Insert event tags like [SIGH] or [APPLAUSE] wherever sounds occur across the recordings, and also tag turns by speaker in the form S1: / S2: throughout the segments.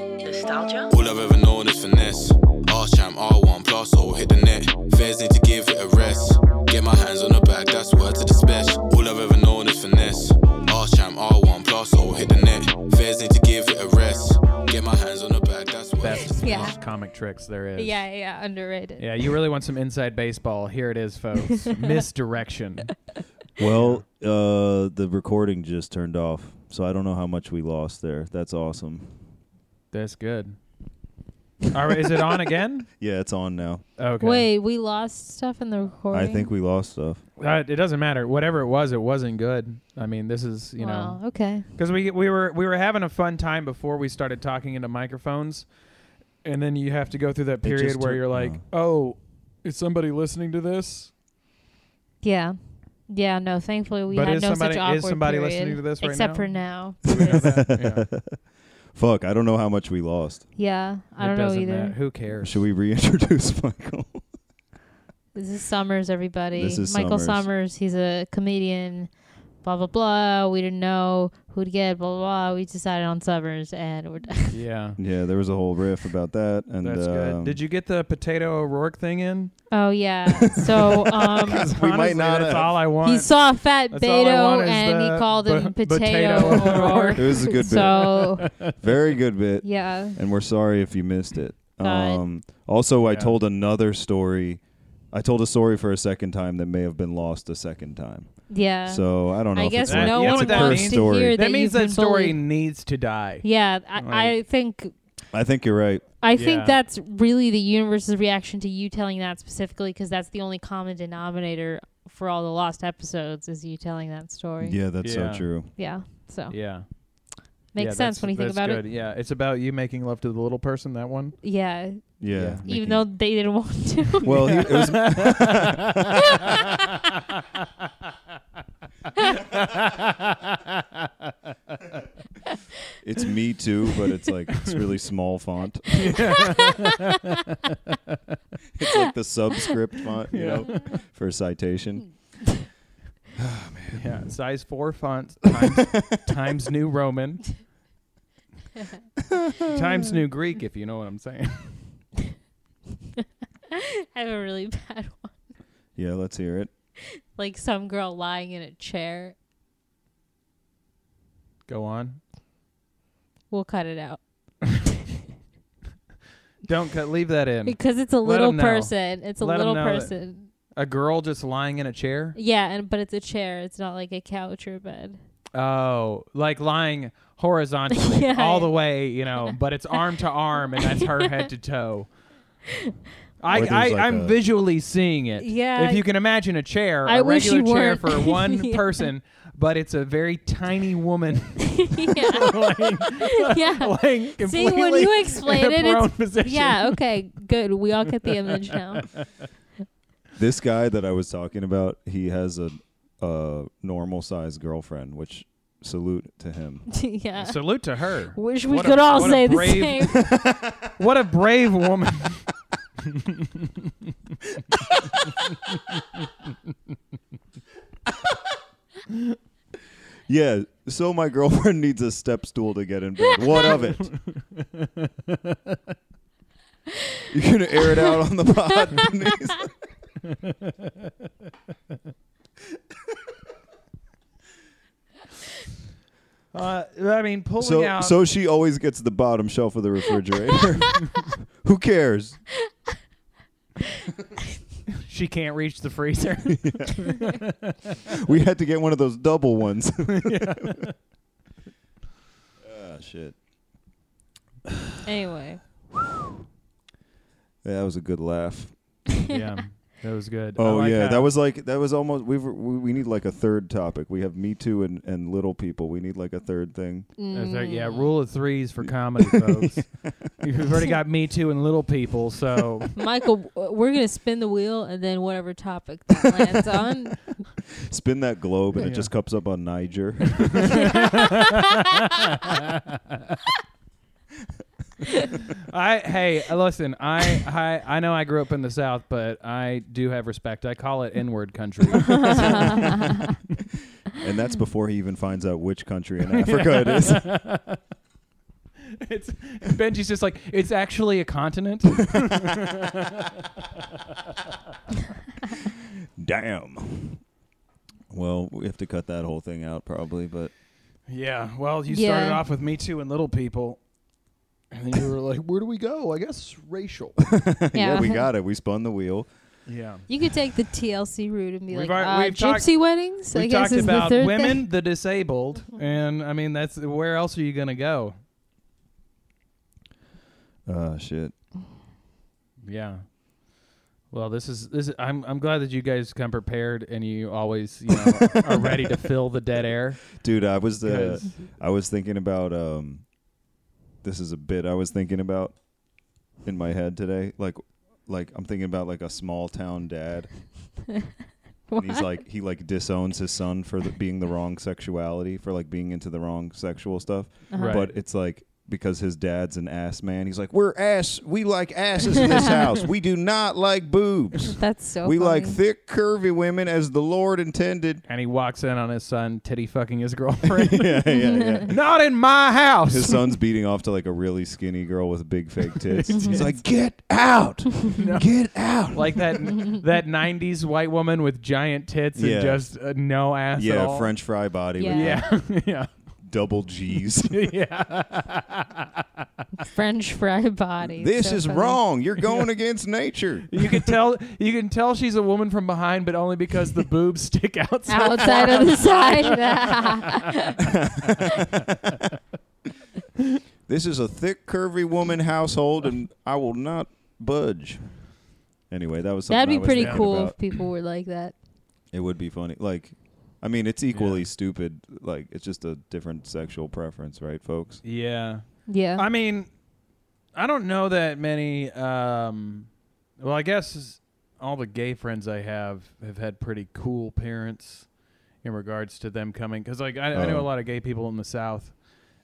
S1: nostalgia.
S2: All I've ever known is finesse. R champ, R1 plus, or hit the net. Fairs need to give it a rest. Get my hands on the bag, that's word to the special. All I've ever known is finesse. R champ, R1 plus, or hit the net. Fairs need to give it a rest. Get my hands on the bag, that's word to the
S3: Best
S2: special.
S4: Yeah.
S3: comic tricks there is.
S4: Yeah, yeah, underrated.
S3: Yeah, you really want some inside baseball? Here it is,
S4: [LAUGHS]
S3: folks. Misdirection.
S5: Well, uh, the recording just turned off, so I don't know how much we lost there. That's awesome.
S3: That's good. All right, is it on
S4: [LAUGHS]
S3: again?
S5: Yeah, it's on now.
S3: Okay.
S4: Wait, we lost stuff in the recording.
S5: I think we lost stuff.
S3: Uh, it doesn't matter. Whatever it was, it wasn't good. I mean, this is you know.
S4: Wow, okay.
S3: because we we were we were having a fun time before we started talking into microphones, and then you have to go through that
S5: It just
S3: period where
S5: took-
S3: you're like, oh, is somebody listening to
S5: [LAUGHS]
S3: this?
S4: Yeah. Yeah, no, thankfully we
S3: But
S4: had
S3: is
S4: no
S3: somebody-
S4: such
S3: is
S4: awkward
S3: somebody
S4: period,
S3: listening to this right
S4: Except
S3: now?
S4: for now.
S3: Do we know that? Yeah.
S5: Fuck, I don't know how much we lost.
S4: Yeah, I
S3: It
S4: don't know
S3: doesn't
S4: either.
S3: matter. Who cares?
S5: Should we reintroduce [LAUGHS] Michael?
S4: This is Summers, everybody.
S5: This is
S4: Michael
S5: Summers.
S4: Summers. He's a comedian. Blah blah blah. We didn't know who to get. Blah blah. blah. We decided on Summers, and we're done. [LAUGHS]
S3: Yeah.
S5: yeah, there was a whole riff about that. And
S3: That's
S5: um,
S3: good. Did you get the potato O'Rourke thing [LAUGHS] in?
S4: Oh yeah.
S3: [LAUGHS]
S4: So um,
S5: We might
S3: Honestly,
S5: not
S3: That's
S5: have.
S3: all I want.
S4: he saw Fat
S3: That's all I want
S4: Beto,
S3: is
S4: and
S3: the
S4: he called him
S3: bu-
S4: Potato
S3: potato [LAUGHS]
S4: O'Rourke.
S5: It was
S4: [LAUGHS]
S5: a good
S4: So
S5: bit. Very good bit.
S4: yeah.
S5: And we're sorry if you missed it.
S4: God.
S5: Um, also, I
S3: Yeah.
S5: told another story. I told a story for a second time that may have been lost a second time.
S4: Yeah.
S5: So I don't know.
S4: I
S5: if
S4: guess
S5: it's worth-
S4: no
S3: You know
S4: one
S5: it's
S3: what
S5: a
S3: that
S5: cursed
S4: wants
S3: means?
S4: to
S5: story.
S4: hear that,
S3: that means
S4: you've
S3: that
S4: been
S3: story
S4: bullied.
S3: needs to die.
S4: Yeah, I,
S3: Like-
S4: I think
S5: I think you're right.
S4: I
S3: Yeah.
S4: think that's really the universe's reaction to you telling that specifically because that's the only common denominator for all the lost episodes is you telling that story.
S5: Yeah, that's
S3: Yeah.
S5: so true.
S4: Yeah, So
S3: Yeah.
S4: makes
S3: Yeah,
S4: sense when you
S3: that's-
S4: think
S3: that's
S4: about it.
S3: good. Yeah, it's about you making love to the little person. That one.
S4: Yeah.
S5: Yeah.
S3: Yeah.
S5: Mickey.
S4: Even
S5: [LAUGHS]
S4: though they didn't want to. [LAUGHS]
S5: well, he, it was [LAUGHS] it's me too, but it's like it's [LAUGHS] really small font. [LAUGHS] it's like the subscript font, you know, for a
S4: Hmm.
S5: citation.
S3: Yeah, size four
S5: [LAUGHS]
S3: font times, times New Roman times New Greek, if you know what I'm saying.
S5: [LAUGHS]
S4: I have a really bad one.
S5: Yeah, let's hear it.
S4: Like some girl lying in a chair.
S3: Go on.
S4: We'll cut it out
S3: Don't cut. Leave that in.
S4: because it's a
S3: Let
S4: little
S3: 'em know.
S4: person. It's a
S3: Let 'em
S4: little
S3: know that-
S4: person.
S3: A girl just lying in a chair.
S4: Yeah, and but it's a chair. It's not like a couch or a bed.
S3: Oh, like lying horizontally
S4: [LAUGHS] Yeah.
S3: all the way, you know, but it's arm to arm, and that's her
S4: [LAUGHS]
S3: head to toe. I,
S5: Or there's
S3: I
S5: like
S3: I'm
S5: a-
S3: visually seeing it.
S4: Yeah.
S3: If you can imagine a chair, a
S4: I wish
S3: regular
S4: you
S3: chair
S4: weren't.
S3: for one
S4: [LAUGHS] Yeah.
S3: person, but it's a very tiny woman
S4: [LAUGHS]
S3: [LAUGHS]
S4: yeah.
S3: lying,
S4: yeah.
S3: lying completely
S4: [LAUGHS] See, when you explain
S3: in a
S4: it, it's
S3: prone position.
S4: Yeah, okay, good. We all get the image now. [LAUGHS]
S5: This guy that I was talking about, he has a, a normal sized girlfriend, which salute to [LAUGHS] him.
S4: yeah.
S3: Salute to her.
S4: Wish we
S3: What a-
S4: could all
S3: what a
S4: say the
S3: brave-
S5: [LAUGHS]
S4: same.
S3: What a brave woman. [LAUGHS]
S5: Yeah, so my girlfriend needs a step stool to get in bed. What of [LAUGHS] it? You're gonna air it out on the [LAUGHS] pod. Denise?
S3: Uh, I mean, pulling
S5: so
S3: out.
S5: so she always gets the bottom shelf of the refrigerator. [LAUGHS] Who cares?
S3: she can't reach the
S5: [LAUGHS]
S3: freezer.
S5: We had to get one of those
S3: [LAUGHS]
S5: double ones. [LAUGHS] Ah shit.
S4: anyway,
S5: Yeah, that was a good laugh.
S3: yeah, that was good. I
S5: Oh
S3: like
S5: yeah,
S3: how-
S5: that was like that was almost we've we, we need like a third topic. We have Me Too and and little people. We need like a third thing.
S3: Uh, there- yeah, rule of threes for comedy, folks. [LAUGHS] You've already got Me Too and Little People, so [LAUGHS]
S4: Michael, w- we're gonna spin the wheel and then whatever topic that lands on.
S5: Spin that globe and
S3: Yeah.
S5: it just comes up on
S3: [LAUGHS]
S5: Niger.
S3: I hey, listen, I, I I know I grew up in the South, but I do have respect. I call it N-word [LAUGHS] country. [LAUGHS]
S5: and that's before he even finds out which country in Africa it is.
S3: It's Benji's just like it's actually a continent.
S5: Damn. Well, we have to cut that whole thing out probably, but
S3: yeah. Well, you
S4: Yeah.
S3: started off with me too and little people, and then you were like, "Where do we go? I guess racial."
S5: [LAUGHS] [LAUGHS] yeah.
S4: Yeah.
S5: we got it. We spun the wheel.
S3: yeah.
S4: You could take the TLC route and be
S3: We've
S4: like,
S3: alre-
S4: uh,
S3: we've talked-
S4: gypsy weddings. I
S3: We
S4: guess
S3: talked
S4: is
S3: about
S4: the third
S3: women,
S4: Thing.
S3: the
S4: [LAUGHS]
S3: disabled, and I mean that's where else are you gonna go?
S5: Oh shit.
S3: Yeah. Well, this is this. Is, I'm I'm glad that you guys come prepared and you always you know are ready to fill the dead air.
S5: Dude, I was the
S3: 'cause-
S5: I was thinking about um this is a bit I was thinking about in my head today. Like like I'm thinking about like a small town
S4: [LAUGHS]
S5: dad and he's like he like disowns his son for the, being the wrong sexuality for like being into the wrong sexual stuff
S4: Uh-huh.
S3: Right.
S5: but it's like because his dad's an ass man he's like we're ass we like asses in
S4: [LAUGHS]
S5: this house we do not like boobs
S4: That's so.
S5: we like
S4: funny.
S5: thick curvy women as the lord intended [LAUGHS]
S3: and he walks in on his son titty fucking his [LAUGHS] girlfriend.
S5: yeah yeah yeah
S3: Not in my house. [LAUGHS]
S5: his son's beating off to like a really skinny girl with big fake tits he's like get out get out
S3: like
S4: [LAUGHS]
S3: that that '90s white woman with giant tits
S5: Yeah.
S3: and just uh, no ass. at
S5: yeah
S3: all.
S5: french fry body with
S4: Yeah.
S3: [LAUGHS] Yeah, [LAUGHS] yeah,
S5: double g's
S3: yeah.
S4: French fry body.
S5: this
S4: So
S5: is
S4: funny.
S5: wrong you're going against nature
S3: You can tell you can tell she's a woman from behind, but only because the boobs stick out. so
S4: [LAUGHS] Outside of
S5: [LAUGHS]
S4: the side.
S5: This is a thick, curvy woman household, and I will not budge. Anyway, that was something
S4: That'd
S5: I
S4: be
S5: was
S4: pretty
S5: thinking
S4: cool if
S5: about.
S4: people were like that.
S5: It would be funny. Like, I mean, it's equally
S3: Yeah.
S5: stupid. Like, it's just a different sexual preference, right, folks?
S3: Yeah.
S4: Yeah.
S3: I mean, I don't know that many. Um, well, I guess all the gay friends I have have had pretty cool parents in regards to them coming. Because like I, I know
S5: Oh.
S3: a lot of gay people in the South,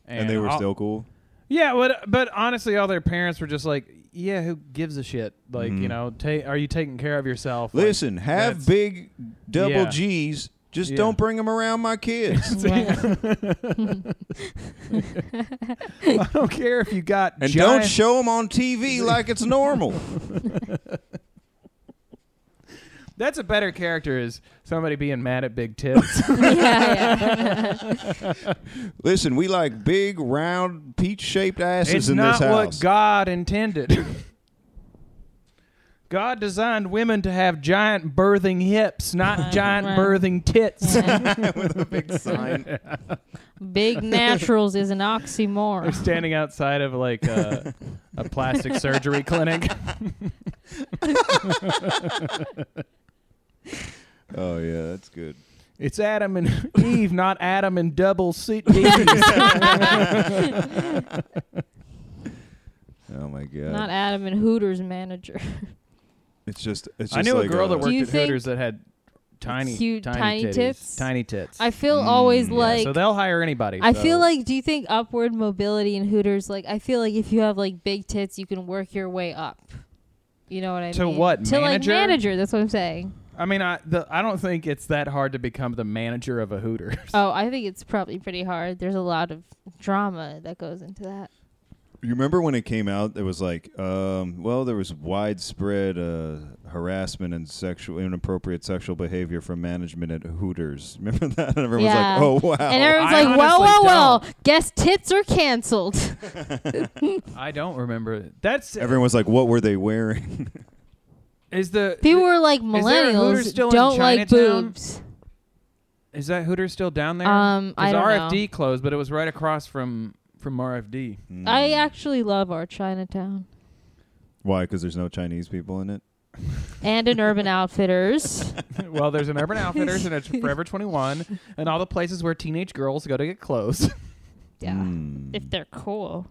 S3: and,
S5: And, they were
S3: all-
S5: still cool.
S3: yeah. But but honestly, all their parents were just like, yeah, who gives a shit? Like you
S5: Mhm.
S3: know, ta- are you taking care of yourself? Like,
S5: Listen, have
S3: that's-
S5: big double
S3: Yeah.
S5: G's. Just
S3: Yeah.
S5: don't bring them around my
S3: [LAUGHS]
S5: kids.
S4: Wow.
S3: [LAUGHS] I don't care if you got
S5: and
S3: giant-
S5: don't show them on TV like it's normal.
S3: [LAUGHS] That's a better character is somebody being mad at big tits.
S4: yeah, yeah.
S5: Listen, we like big, round, peach-shaped asses
S3: it's
S5: in
S3: not
S5: this
S3: what
S5: house. [LAUGHS]
S3: God intended. God designed women to have giant birthing hips, not
S4: Right,
S3: giant
S4: right.
S3: birthing tits. [LAUGHS]
S5: with a big sign.
S4: Big naturals is an oxymoron.
S3: They're standing outside of like a, a
S4: [LAUGHS]
S3: plastic surgery clinic.
S5: oh yeah, that's good.
S3: It's Adam and Eve, not Adam and double [LAUGHS] C- D's.
S5: Oh my god.
S4: Not Adam and Hooters manager.
S5: It's just. It's just
S3: I knew
S5: like
S3: a
S5: uh,
S3: girl that
S4: Do
S3: worked
S4: you
S3: at
S4: think-
S3: Hooters that had tiny,
S4: Cute
S3: tiny,
S4: tiny
S3: titties,
S4: tits?
S3: tiny tits.
S4: I feel always
S5: Mm, yeah,
S4: like
S3: so they'll hire anybody.
S4: I
S3: so-
S4: feel like do you think upward mobility in Hooters like I feel like if you have like big tits you can work your way up. You know what I
S3: To
S4: mean?
S3: what,
S4: To
S3: manager?
S4: like manager, that's what I'm saying.
S3: I mean, I the, I don't think it's that hard to become the manager of a Hooters.
S4: Oh, I think it's probably pretty hard. There's a lot of drama that goes into that.
S5: You remember when it came out? It was like, um, well, there was widespread uh, harassment and sexual inappropriate sexual behavior from management at Hooters. [LAUGHS] Remember that? And everyone
S4: Yeah.
S5: was like, oh wow.
S4: and everyone's
S3: I
S4: like, well, well,
S3: honestly
S4: well, guess tits are
S3: [LAUGHS]
S4: canceled.
S3: I don't remember. it. That's
S5: everyone was like, what were they wearing?
S3: is the
S4: People were like,
S3: Is there a Hooters
S4: millennials
S3: still in
S4: don't like
S3: Chinatown?
S4: boobs.
S3: is that Hooters still down there?
S4: Um, I
S3: 'Cause
S4: don't
S3: RFD closed, but it was right across from from RFD.
S4: I actually love our Chinatown.
S5: Mm. Why? Because there's no Chinese people in it.
S4: and an
S3: [LAUGHS]
S4: Urban Outfitters.
S3: [LAUGHS] well, there's an
S4: [LAUGHS]
S3: Urban Outfitters and it's Forever 21 and all the places where teenage girls go to get
S4: [LAUGHS]
S3: clothes.
S4: Yeah,
S3: Hmm.
S5: Mm.
S4: if they're cool.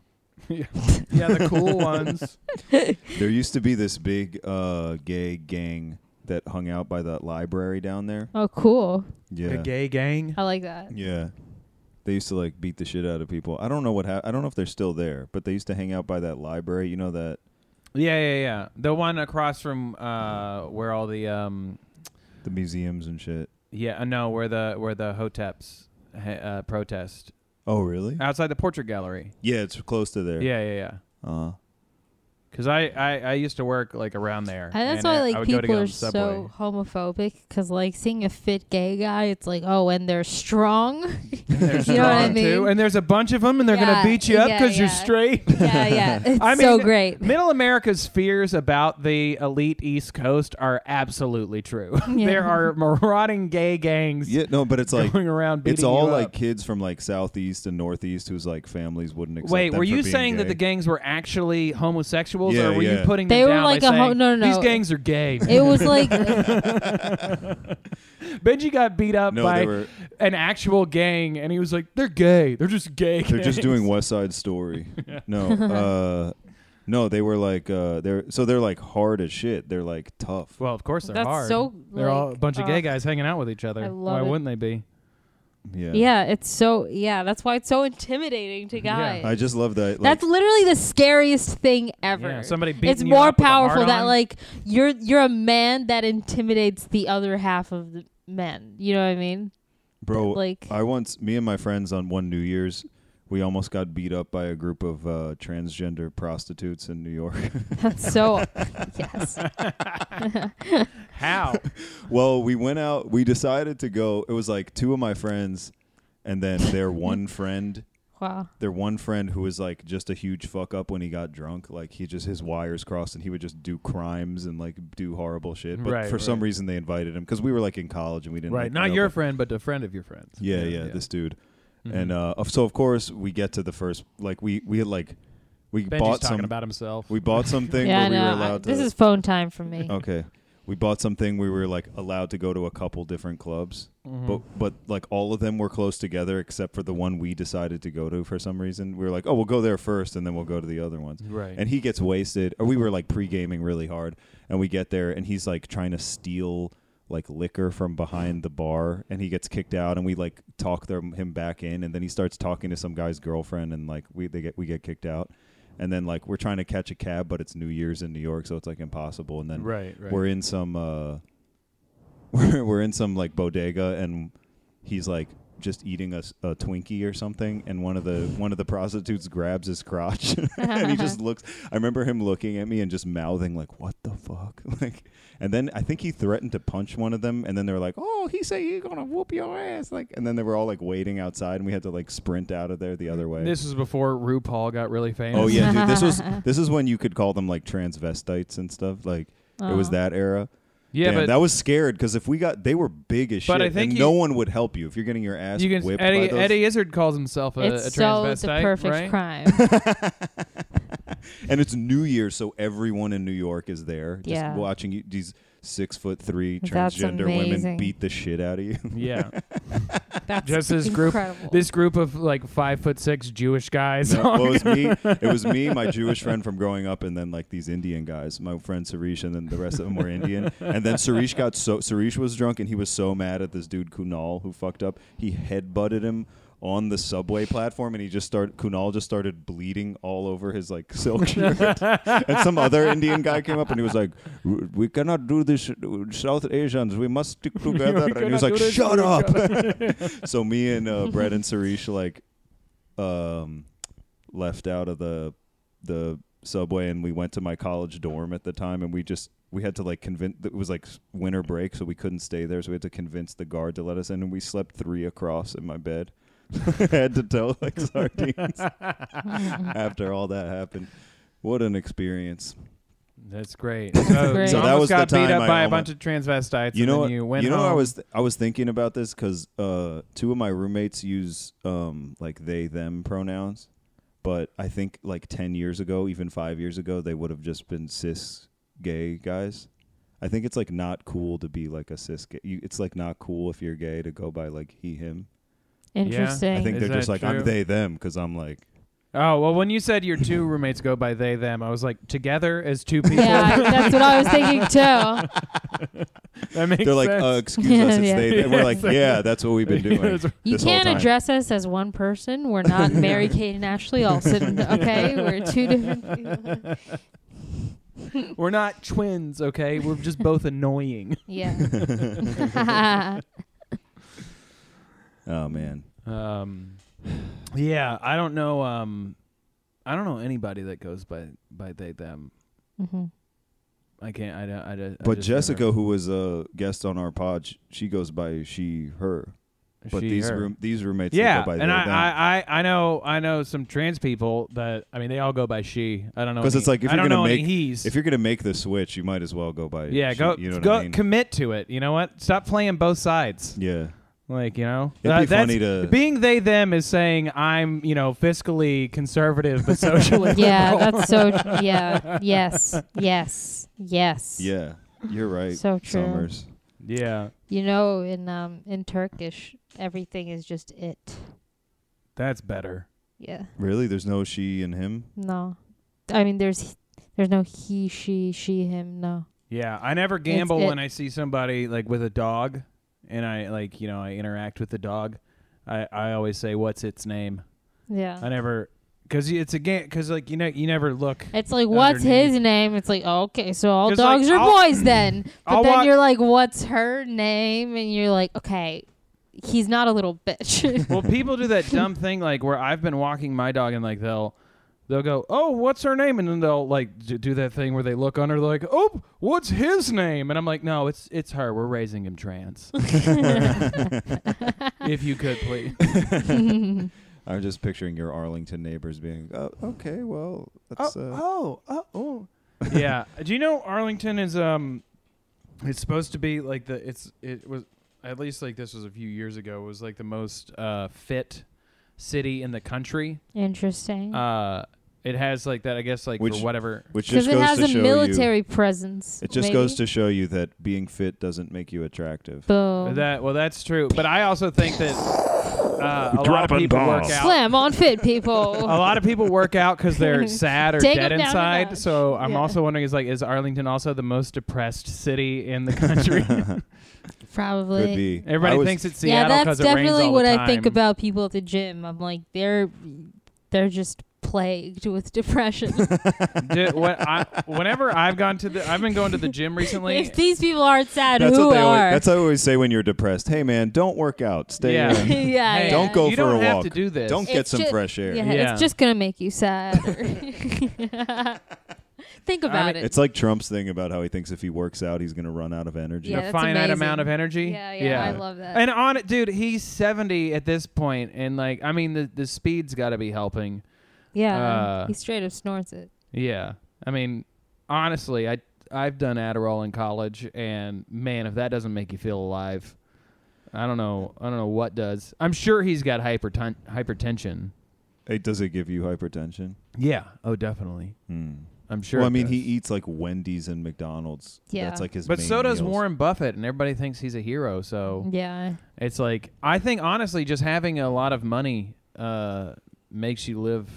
S3: yeah. yeah, the cool ones.
S5: There used to be this big uh, gay gang that hung out by that library down there.
S4: Oh, cool.
S5: Yeah.
S3: The gay gang.
S4: I like that.
S5: Yeah. They used to like beat the shit out of people. I don't know what happened. I don't know if they're still there, but they used to hang out by that library. You know that?
S3: Yeah, yeah, yeah. The one across from uh where all the um
S5: The museums and shit.
S3: yeah, uh, no, where the where the hoteps ha- uh, protest
S5: Oh, really?
S3: outside the portrait gallery.
S5: Yeah, it's close to there.
S3: Yeah, yeah, yeah.
S5: Uh,
S3: Because I, I, I used to work like around there.
S4: I, that's
S3: and uh,
S4: why
S3: I-
S4: like
S3: I would go to
S4: people
S3: get
S4: are
S3: on Subway.
S4: so homophobic because like seeing a fit gay guy, it's like oh, and they're strong.
S3: [LAUGHS] And they're
S4: You know what I
S3: strong, too,
S4: mean?
S3: And there's a bunch of them, and they're
S4: Yeah,
S3: gonna beat you up
S4: yeah,
S3: because you're
S4: yeah.
S3: straight.
S4: [LAUGHS]
S3: [LAUGHS]
S4: yeah, yeah, it's
S3: I
S4: so
S3: mean,
S4: great.
S3: Middle America's fears about the elite East Coast are absolutely true. [LAUGHS]
S4: Yeah.
S3: there are marauding gay gangs
S5: yeah, no, but it's like
S3: going around beating
S5: it's all
S3: you
S5: like
S3: up.
S5: kids from like southeast and northeast whose like families wouldn't accept
S3: Wait,
S5: them
S3: were
S5: for
S3: you
S5: being
S3: saying that
S5: gay.
S3: the gangs were actually homosexuals,
S5: Yeah,
S3: or were
S5: yeah.
S3: you putting
S4: They
S3: them
S4: were
S3: down by
S4: like a ho-
S3: saying,
S4: no, no,
S3: These
S4: no.
S3: gangs are gay.
S4: It was like
S3: [LAUGHS] Benji got beat up
S5: No,
S3: by
S5: they were
S3: an actual gang, and he was like, "They're gay. They're just gay.
S5: they're just
S3: gangs."
S5: doing West Side Story. No, uh, no, they were like uh, they're so they're like hard as shit. They're like tough.
S3: Well, of course they're
S4: That's
S3: hard.
S4: so,
S3: they're all a
S4: like,
S3: bunch of gay
S4: uh,
S3: guys hanging out with each other.
S4: I love
S3: Why
S4: it.
S3: wouldn't they be?
S5: Yeah,
S4: yeah, it's so yeah. That's why it's so intimidating to guys.
S5: I just love that. Like,
S4: that's literally the scariest thing ever.
S3: Yeah, somebody beating
S4: it's
S3: you
S4: more
S3: up with a
S4: powerful that
S3: hard-on.
S4: like you're you're a man that intimidates the other half of the men. You know what I mean?
S5: bro. uh,
S4: like-
S5: I once me and my friends on one New Year's. We almost got beat up by a group of uh, transgender prostitutes in New York. [LAUGHS]
S4: That's so yes.
S5: [LAUGHS]
S3: How?
S5: well, we went out. We decided to go. It was like two of my friends, and then their one friend
S4: Wow.
S5: their one friend who was like just a huge fuck up when he got drunk. Like he just his wires crossed and he would just do crimes and like do horrible shit. But
S3: Right,
S5: for some
S3: right.
S5: reason they invited him because we were like in college and we didn't
S3: right,
S5: like,
S3: not
S5: know,
S3: your
S5: but-
S3: friend, but a friend of your friends.
S5: yeah, yeah, this dude.
S3: Mm-hmm.
S5: And uh, of- so of course we get to the first like we we had like we
S3: Benji's
S5: bought
S3: talking
S5: some
S3: about himself. [LAUGHS]
S5: we bought something
S4: yeah,
S5: where we
S4: no,
S5: were
S4: I-
S5: allowed to Oh,
S4: this is phone time for me.
S5: okay we bought something we were like allowed to go to a couple different clubs but but like all of them were close together except for the one we decided to go to for some reason we were like oh we'll go there first and then we'll go to the other ones
S3: Right.
S5: and he gets wasted or we were like pre-gaming really hard and we get there and he's like trying to steal like liquor from behind the bar and he gets kicked out and we like talk them, him back in and then he starts talking to some guy's girlfriend and like we they get we get kicked out and then like we're trying to catch a cab but it's new year's in new york so it's like impossible and then
S3: Right, right.
S5: we're in some uh [LAUGHS] we're, we're in some like bodega and he's like just eating a, s- a Twinkie or something, and one of the one of the prostitutes grabs his crotch, [LAUGHS] and he just looks. I remember him looking at me and just mouthing like, "What the fuck?" [LAUGHS] Like, and then I think he threatened to punch one of them, and then they were like, "Oh, he say he gonna whoop your ass!" Like, and then they were all like waiting outside, and we had to like sprint out of there the other way.
S3: This was before RuPaul got really famous.
S5: oh yeah, dude, this was this is when you could call them like transvestites and stuff. Like, it was that era.
S3: [LAUGHS] yeah,
S5: Damn,
S3: but
S5: that was scared because if we got, they were big as
S3: But
S5: shit,
S3: I think
S5: and
S3: you-
S5: no one would help you if you're getting your ass
S3: you can
S5: whipped by
S3: Eddie
S5: those.
S3: Eddie Izzard calls himself a,
S4: it's
S3: a
S4: so
S3: transvestite,
S4: the perfect
S3: right?
S4: crime.
S5: and it's New Year, so everyone in New York is there, just
S4: Yeah.
S5: watching you, these six foot three
S4: That's
S5: transgender women
S4: amazing.
S5: beat the shit out of you. [LAUGHS]
S3: Yeah,
S4: That's
S3: just [LAUGHS] this group,
S4: incredible.
S3: this group of like five foot six Jewish guys.
S5: No, well, it was me. It was me, my Jewish friend from growing up, and then like these Indian guys. My friend Suresh, and then the rest of them were Indian. And then Suresh got so Suresh was drunk, and he was so mad at this dude Kunal who fucked up. He headbutted him on the subway platform, and he just started. Kunal just started bleeding all over his like [LAUGHS] silk shirt. and some other Indian guy came up, and he was like, "We cannot do this, South Asians. We must
S3: [LAUGHS]
S5: stick together." and he
S3: cannot
S5: was like,
S3: do this [LAUGHS]
S5: "Shut
S3: to
S5: up." [LAUGHS] so me and uh, Brett and Suresh like um, left out of the the subway, and we went to my college dorm at the time, and we just we had to like convince. It was like winter break, so we couldn't stay there, so we had to convince the guard to let us in, and we slept three across in my bed. [LAUGHS] I had to tell
S3: [LAUGHS]
S5: like [LAUGHS] sardines after all that happened. What an experience!
S3: [LAUGHS] That's great. So,
S4: great. So
S3: you
S4: that
S3: almost
S5: was the
S3: got beat up
S5: time I
S3: by a
S5: almo-
S3: bunch of transvestites.
S5: You
S3: and
S5: know,
S3: then
S5: what-
S3: you went.
S5: know, what I
S3: home.
S5: was I was thinking about this because uh, two of my roommates use um, like they them pronouns, but I think like ten years ago, even five years ago, they would have just been cis gay guys. I think it's like not cool to be like a cis gay. You, it's like not cool if you're gay to go by like he him.
S4: Interesting.
S5: I think
S3: Is
S5: they're just
S3: that
S5: like
S3: true?
S5: I'm they them because I'm
S3: [LAUGHS]
S5: like
S3: Oh well, when you said your two roommates go by they them, I was like together as two people.
S5: [LAUGHS]
S4: yeah, that's what I was thinking too.
S3: [LAUGHS] that makes
S5: they're like
S3: sense.
S5: uh, excuse
S3: [LAUGHS]
S5: us it's
S4: Yeah.
S5: they them. we're like yeah that's what we've been doing.
S3: That's-
S4: You
S5: this whole
S4: can't
S5: time.
S4: address us as one person. We're
S5: [LAUGHS]
S4: not Mary Kate and Ashley Olsen. Okay, we're two different. people.
S3: We're not twins, okay? We're just both annoying.
S5: [LAUGHS]
S4: Yeah.
S5: Oh man,
S3: [LAUGHS] Um, Yeah, I don't know. Um, I don't know anybody that goes by by they them.
S4: [LAUGHS] Mm-hmm.
S3: I can't. I don't. I, don't- I
S5: But
S3: just
S5: Jessica,
S3: never-
S5: who was a guest on our pod, sh- she goes by she, her. But
S3: she,
S5: these
S3: her.
S5: room these roommates,
S3: Yeah,
S5: they go by
S3: and I, I, I, I know I know some trans people that I mean they all go by she. I don't know
S5: because
S3: any-
S5: it's like if
S3: I
S5: you're
S3: don't
S5: gonna
S3: know any
S5: make
S3: he's.
S5: if you're gonna make the switch, you might as well go by.
S3: yeah,
S5: she,
S3: go
S5: You know what
S3: go
S5: I mean?
S3: commit to it. You know what? Stop playing both sides.
S5: yeah,
S3: Like you know,
S5: It'd be
S3: uh, that's-
S5: funny to-
S3: being they them is saying I'm you know fiscally conservative
S5: [LAUGHS]
S3: but socially
S4: Yeah,
S3: liberal.
S4: that's so. tr- Yeah. Yes. Yes. Yes.
S5: yeah, you're right.
S4: So true.
S5: Summers.
S3: yeah.
S4: You know, in um in Turkish, everything is just it.
S3: That's better.
S4: Yeah.
S5: Really, there's no she and him.
S4: No. I mean, there's there's no he, she, she, him. No.
S3: Yeah, I never gamble
S4: it-
S3: when I see somebody like with a dog, and I like you know I interact with the dog. I I always say what's its name.
S4: Yeah.
S3: I never because it's a game because like you know you never look.
S4: It's like, what's
S3: Underneath.
S4: his name? It's like, okay, so all
S3: 'Cause, like,
S4: dogs are
S3: I'll-
S4: boys
S5: [CLEARS THROAT]
S4: then. But
S3: I'll
S4: then
S3: wa-
S4: you're like, what's her name? And you're like, okay, he's not a little
S5: [LAUGHS]
S4: bitch. [LAUGHS]
S3: well, people do that dumb thing like where I've been walking my dog and like they'll they'll go oh what's her name and then they'll like d- do that thing where they look under like oh what's his name and I'm like no it's it's her we're raising him [LAUGHS] trans if you could please
S5: I'm just picturing your Arlington neighbors being, oh, okay, well, that's uh,
S3: oh, oh, oh. yeah. Do you know Arlington is um, it's supposed to be like the it's it was at least like this was a few years ago was like the most uh fit city in the country.
S4: Interesting.
S3: Uh, it has like that I guess like
S5: Which-
S3: for whatever.
S5: which
S4: Because
S5: just
S4: it
S5: goes
S4: has
S5: to
S4: a
S5: show
S4: military
S5: you.
S4: presence.
S5: It just
S4: maybe?
S5: goes to show you that being fit doesn't make you attractive.
S4: boom.
S3: That well, that's true. But I also think that uh, a lot of
S5: Dropping
S3: people work
S5: bombs.
S3: out. Oh.
S4: Slam on
S3: [LAUGHS]
S4: fit
S3: a
S4: people.
S3: lot of people
S4: [LAUGHS]
S3: work out because they're sad or
S4: Take 'em
S3: dead
S4: down a
S3: inside.
S4: notch.
S3: So I'm
S4: Yeah.
S3: also wondering is like is Arlington also the most depressed city in the
S5: [LAUGHS]
S3: country?
S4: Probably.
S5: Could be. I
S3: Everybody
S5: was-
S3: thinks it's
S4: yeah,
S3: Seattle
S4: that's
S3: because it rains
S4: definitely
S3: all
S4: what
S3: the
S4: I think
S3: time.
S4: about people at the gym. I'm like, they're they're just plagued with
S3: [LAUGHS]
S4: depression.
S3: Dude, what I, whenever I've gone to the, I've been going to the
S4: [LAUGHS]
S3: gym recently.
S4: if these people aren't sad,
S5: That's
S4: who
S5: what they always,
S4: are? [LAUGHS]
S5: that's what I always say when you're depressed. Hey man, don't work out. Stay
S3: Yeah. [LAUGHS]
S5: in.
S4: yeah,
S3: Hey,
S4: yeah.
S5: Don't go
S3: you
S5: for
S3: don't
S5: a
S3: have
S5: walk.
S3: to do this.
S5: Don't get
S4: It's
S5: some
S4: ju-
S5: fresh air.
S4: Yeah,
S3: Yeah.
S4: it's just gonna make you
S3: [LAUGHS]
S4: sad. [LAUGHS] Think about
S3: mean,
S4: it.
S5: It's like Trump's thing about how he thinks if he works out, he's going to run out of energy.
S4: Yeah,
S3: the
S4: that's
S3: finite amount
S4: amazing.
S3: of energy.
S4: yeah, yeah, I love that.
S3: And on it, dude, he's 70 at this point, and like, I mean, the the speed's got to be helping.
S4: yeah,
S3: uh,
S4: he straight up snorts it.
S3: Yeah, I mean, honestly, I I've done Adderall in college, and man, if that doesn't make you feel alive, I don't know, I don't know what does. I'm sure he's got hyperten- hypertension.
S5: Hey, does it give you hypertension?
S3: Yeah. Oh, definitely.
S5: Hmm.
S3: I'm sure.
S5: well,
S3: it
S5: I mean,
S3: does.
S5: he eats like Wendy's and McDonald's.
S4: Yeah.
S5: That's like his
S3: But
S5: main
S3: so does
S5: meals.
S3: Warren Buffett, and everybody thinks he's a hero. So
S4: Yeah,
S3: it's like I think honestly, just having a lot of money uh, makes you live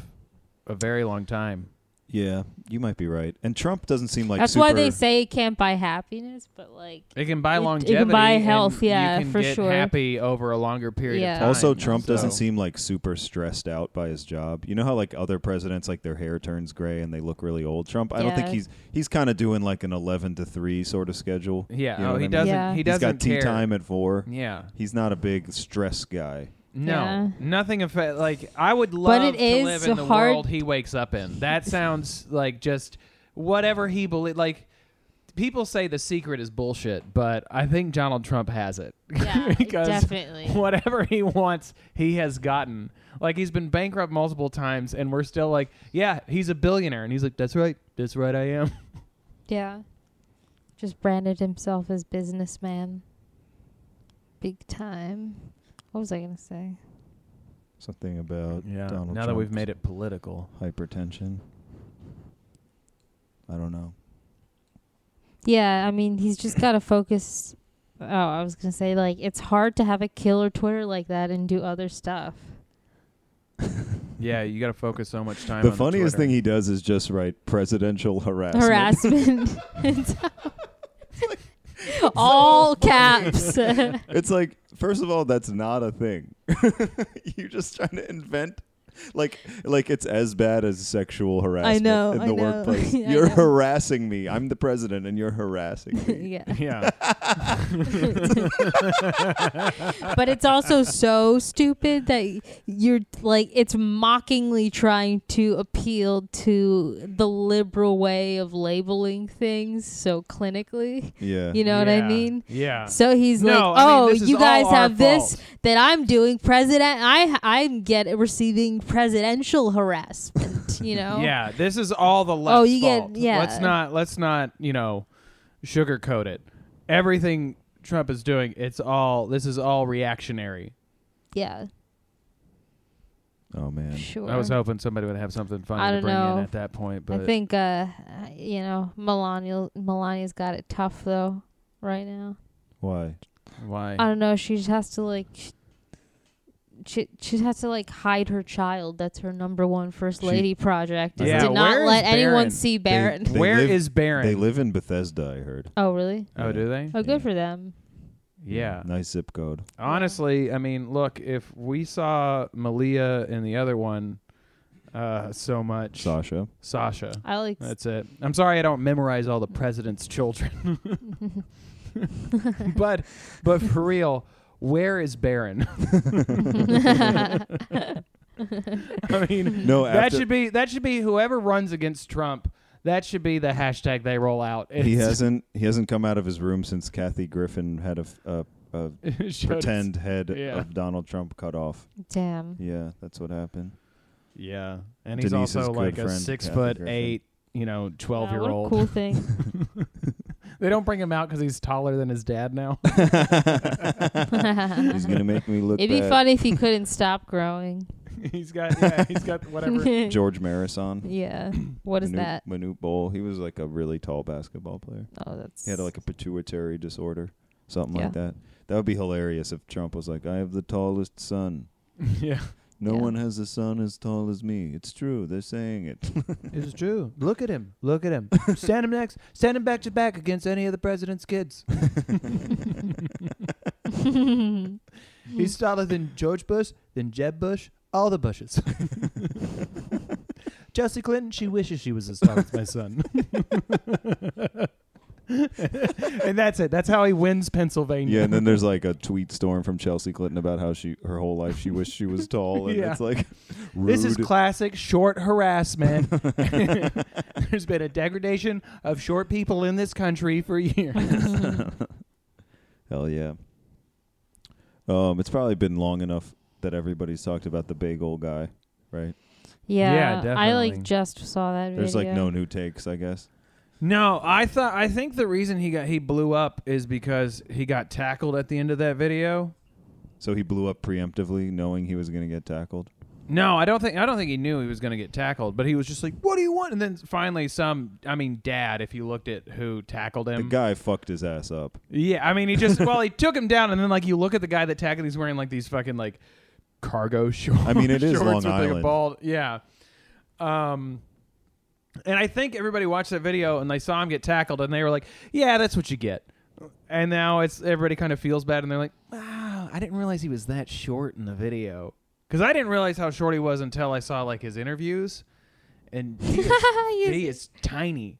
S3: a very long time.
S5: Yeah, you might be right. And Trump doesn't seem like
S4: that's
S5: super,
S4: why they say it can't buy happiness, but like,
S3: It can buy
S4: It- it can
S3: longevity.
S4: buy
S3: and
S4: health, yeah,
S3: you can
S4: for
S3: get
S4: sure.
S3: Happy over a longer period of
S4: Yeah.
S3: time.
S5: Also, Trump
S3: so-
S5: doesn't seem like super stressed out by his job. You know how like other presidents, like their hair turns gray and they look really old. Trump, I don't think
S4: Yeah.
S5: he's he's kind of doing like an eleven to three sort of schedule.
S3: Yeah.
S5: You know
S3: oh,
S5: what I
S3: he
S5: mean?
S3: doesn't.
S4: Yeah.
S3: He
S4: He's
S5: He's
S3: doesn't
S5: got tea
S3: care.
S5: time at four.
S3: Yeah.
S5: He's not a big stress guy.
S3: No.
S4: Yeah.
S3: Nothing. Affa- like I would love
S4: it
S3: to
S4: is
S3: live in the
S4: hard-
S3: world he wakes up in. That sounds like just whatever he believe. Like people say the secret is bullshit, but I think Donald Trump has it. [LAUGHS]
S4: yeah,
S3: Because [LAUGHS]
S4: definitely.
S3: whatever he wants, he has gotten. Like he's been bankrupt multiple times, and we're still like, yeah, he's a billionaire, and he's like, that's right, that's right, I am.
S4: Yeah. Just branded himself as businessman. Big time. What was I gonna say?
S5: Something
S3: Oh,
S5: about Donald
S3: now that we've made it political,
S5: hypertension. I don't know.
S4: Yeah, I mean, he's just got to focus. Oh, I was gonna say like it's hard to have a killer Twitter like that and do other stuff.
S3: yeah, you got to focus so much time.
S5: the
S3: on
S5: funniest
S3: Twitter.
S5: thing he does is just write presidential [LAUGHS] harassment.
S4: Harassment. [LAUGHS] All caps.
S5: [LAUGHS] It's like, first of all, that's not a thing. You're just trying to invent like like it's as bad as sexual harassment
S4: know,
S5: in the
S4: I know. [LAUGHS]
S5: workplace.
S4: Yeah, I
S5: you're
S4: know.
S5: harassing me. I'm the president and you're harassing
S4: [LAUGHS]
S5: me.
S4: yeah.
S3: [LAUGHS] yeah.
S4: [LAUGHS] but it's also so stupid that you're like it's mockingly trying to appeal to the liberal way of labeling things so clinically
S5: yeah.
S4: [LAUGHS] you know what
S3: Yeah.
S4: i mean
S3: Yeah.
S4: so he's
S3: No,
S4: like
S3: I
S4: oh
S3: mean, this is
S4: you
S3: all
S4: guys
S3: our
S4: have this
S3: fault."
S4: that i'm doing president i i'm get receiving presidential harassment
S3: [LAUGHS]
S4: you know
S3: Yeah, this is all the left's
S4: Oh, you get-
S3: fault.
S4: yeah.
S3: Let's not let's not, you know, sugarcoat it. Everything Trump is doing, it's all this is all reactionary.
S4: yeah
S5: oh man.
S4: sure
S3: I was hoping somebody would have something
S4: I
S3: funny to
S4: don't
S3: bring
S4: know.
S3: in at that point, but
S4: I think uh you know Melania Melania's got it tough though right now.
S5: Why?
S3: why?
S4: I don't know. She just has to like she she just has to like hide her child. That's her number one first
S5: She-
S4: lady project. Is
S3: Yeah,
S4: to not
S3: where is
S4: let anyone
S3: Barron?
S4: see Baron.
S5: They
S3: Where is
S5: live-
S3: Barron?
S5: They live in Bethesda, I heard.
S4: [LAUGHS] oh really?
S3: oh, do they?
S4: Oh good for them.
S3: Yeah.
S5: Nice zip code.
S3: Honestly, I mean, look, if we saw Malia and the other one uh so much
S5: Sasha.
S3: Sasha.
S4: I like
S3: That's it. I'm sorry I don't memorize all the president's children. [LAUGHS] but but for real, where is Barron? I
S4: [LAUGHS]
S3: mean,
S5: No,
S3: that
S5: after
S3: should be that should be whoever runs against Trump. That should be the hashtag they roll out.
S5: he hasn't he hasn't come out of his room since Kathy Griffin had a, f- a- a
S3: [LAUGHS] It shows-
S5: pretend head
S3: Yeah.
S5: of Donald Trump cut off.
S4: damn.
S5: Yeah, that's what happened.
S3: Yeah, and he's
S5: Denise's
S3: also
S5: good
S3: like a
S5: friend,
S3: six
S5: Kathy
S3: foot
S5: Griffin.
S3: eight, you know, twelve
S4: Wow,
S3: year
S4: what a
S3: old.
S4: cool thing.
S3: They don't bring him out because he's taller than his dad [LAUGHS] now.
S4: [LAUGHS]
S5: He's gonna make me look.
S4: It'd be
S5: bad.
S4: funny if he couldn't stop growing.
S3: he's got [LAUGHS] yeah, he's got whatever.
S5: George Marison.
S4: yeah. What is
S5: Manute,
S4: that?
S5: Manute Bol. He was like a really tall basketball player.
S4: Oh, that's
S5: He had like a pituitary disorder, something
S4: Yeah.
S5: like that. That would be hilarious if Trump was like, "I have the tallest son.
S3: yeah,
S5: No
S4: Yeah.
S5: one has a son as tall as me. It's true. They're saying it."
S3: it's true. Look at him. Look at [LAUGHS] him. Stand him next. Stand him back to back against any of the president's [LAUGHS] kids. He's taller than George Bush, than Jeb Bush, all the [LAUGHS] Bushes. Chelsea Clinton, she wishes she was as tall as my son. [LAUGHS] and that's it. That's how he wins Pennsylvania.
S5: yeah, and
S3: [LAUGHS]
S5: then there's like a tweet storm from Chelsea Clinton about how she her whole life she wished she was tall, and
S3: Yeah.
S5: it's like [LAUGHS] rude.
S3: This is classic short [LAUGHS] harassment. There's been a degradation of short people in this country for years.
S5: Hell yeah. Um, it's probably been long enough that everybody's talked about the bagel guy, right?
S4: yeah,
S3: Yeah,
S4: I
S3: definitely.
S4: like just saw that
S5: There's
S4: video.
S5: like no new takes, I guess.
S3: [LAUGHS] No, I thought I think the reason he got he blew up is because he got tackled at the end of that video.
S5: So he blew up preemptively, knowing he was going to get tackled.
S3: No, I don't think I don't think he knew he was going to get tackled, but he was just like, "What do you want?" And then finally, some I mean, Dad, if you looked at who tackled
S5: The
S3: him,
S5: guy fucked his ass up.
S3: yeah, I mean, he just well, [LAUGHS] he took him down, and then like you look at the guy that tackled, he's wearing like these fucking like cargo [LAUGHS] shorts.
S5: I mean, it is
S3: shorts
S5: Long
S3: with, like, a
S5: Island.
S3: bald, yeah. Um, and I think everybody watched that video and they saw him get tackled, and they were like, "Yeah, that's what you get." And now it's everybody kind of feels bad, and they're like, "Wow, I didn't realize he was that short in the video." Because I didn't realize how short he was until I saw like his interviews,
S4: [LAUGHS]
S3: and he is, he is tiny.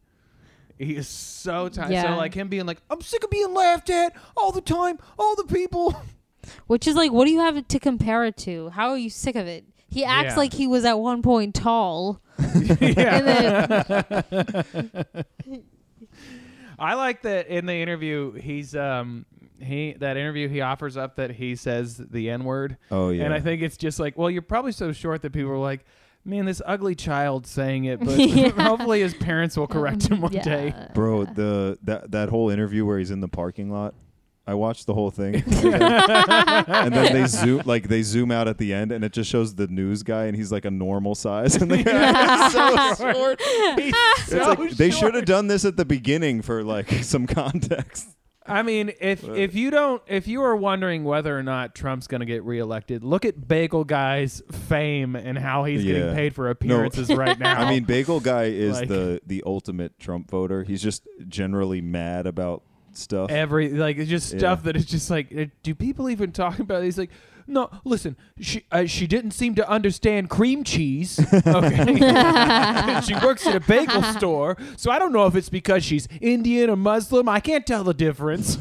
S3: He is so tiny.
S4: Yeah.
S3: So like him being like, "I'm sick of being laughed at all the time, all the people." [LAUGHS]
S4: Which is like, what do you have to compare it to? How are you sick of it? He acts
S3: Yeah.
S4: like he was at one point tall.
S3: [LAUGHS] yeah.
S4: And then,
S3: I like that in the interview. He's um he that interview he offers up that he says the n word.
S5: Oh, yeah.
S3: And I think it's just like, well, you're probably so short that people are like. Man, this ugly child saying it,
S5: [LAUGHS]
S3: but [LAUGHS] hopefully his parents will [LAUGHS] correct him one
S4: yeah.
S3: day.
S5: Bro, the that that whole interview where he's in the parking lot, I watched the
S3: [LAUGHS]
S5: whole thing, and then they zoom like they zoom out at the end, and it just shows the news guy, and he's like a normal size, [LAUGHS] and the
S3: [LAUGHS]
S5: guy so short.
S3: He's
S5: It's
S3: so
S5: like they
S3: short.
S5: should have done this at the beginning for like [LAUGHS] some context.
S3: I mean, if if you don't, if you are wondering whether or not Trump's going to get reelected, look at Bagel Guy's fame and how he's
S5: Yeah.
S3: getting paid for
S5: No.
S3: appearances
S5: [LAUGHS]
S3: right now.
S5: I mean, Bagel Guy is
S3: Like-
S5: the the ultimate Trump voter. He's just generally mad about stuff.
S3: every like it's just
S5: Yeah.
S3: stuff that is just like, uh, do people even talk about? It? He's like, no, listen, she uh, she didn't seem to understand cream cheese. Okay, [LAUGHS] she works at a bagel store, so I don't know if it's because she's Indian or Muslim. I can't tell the difference.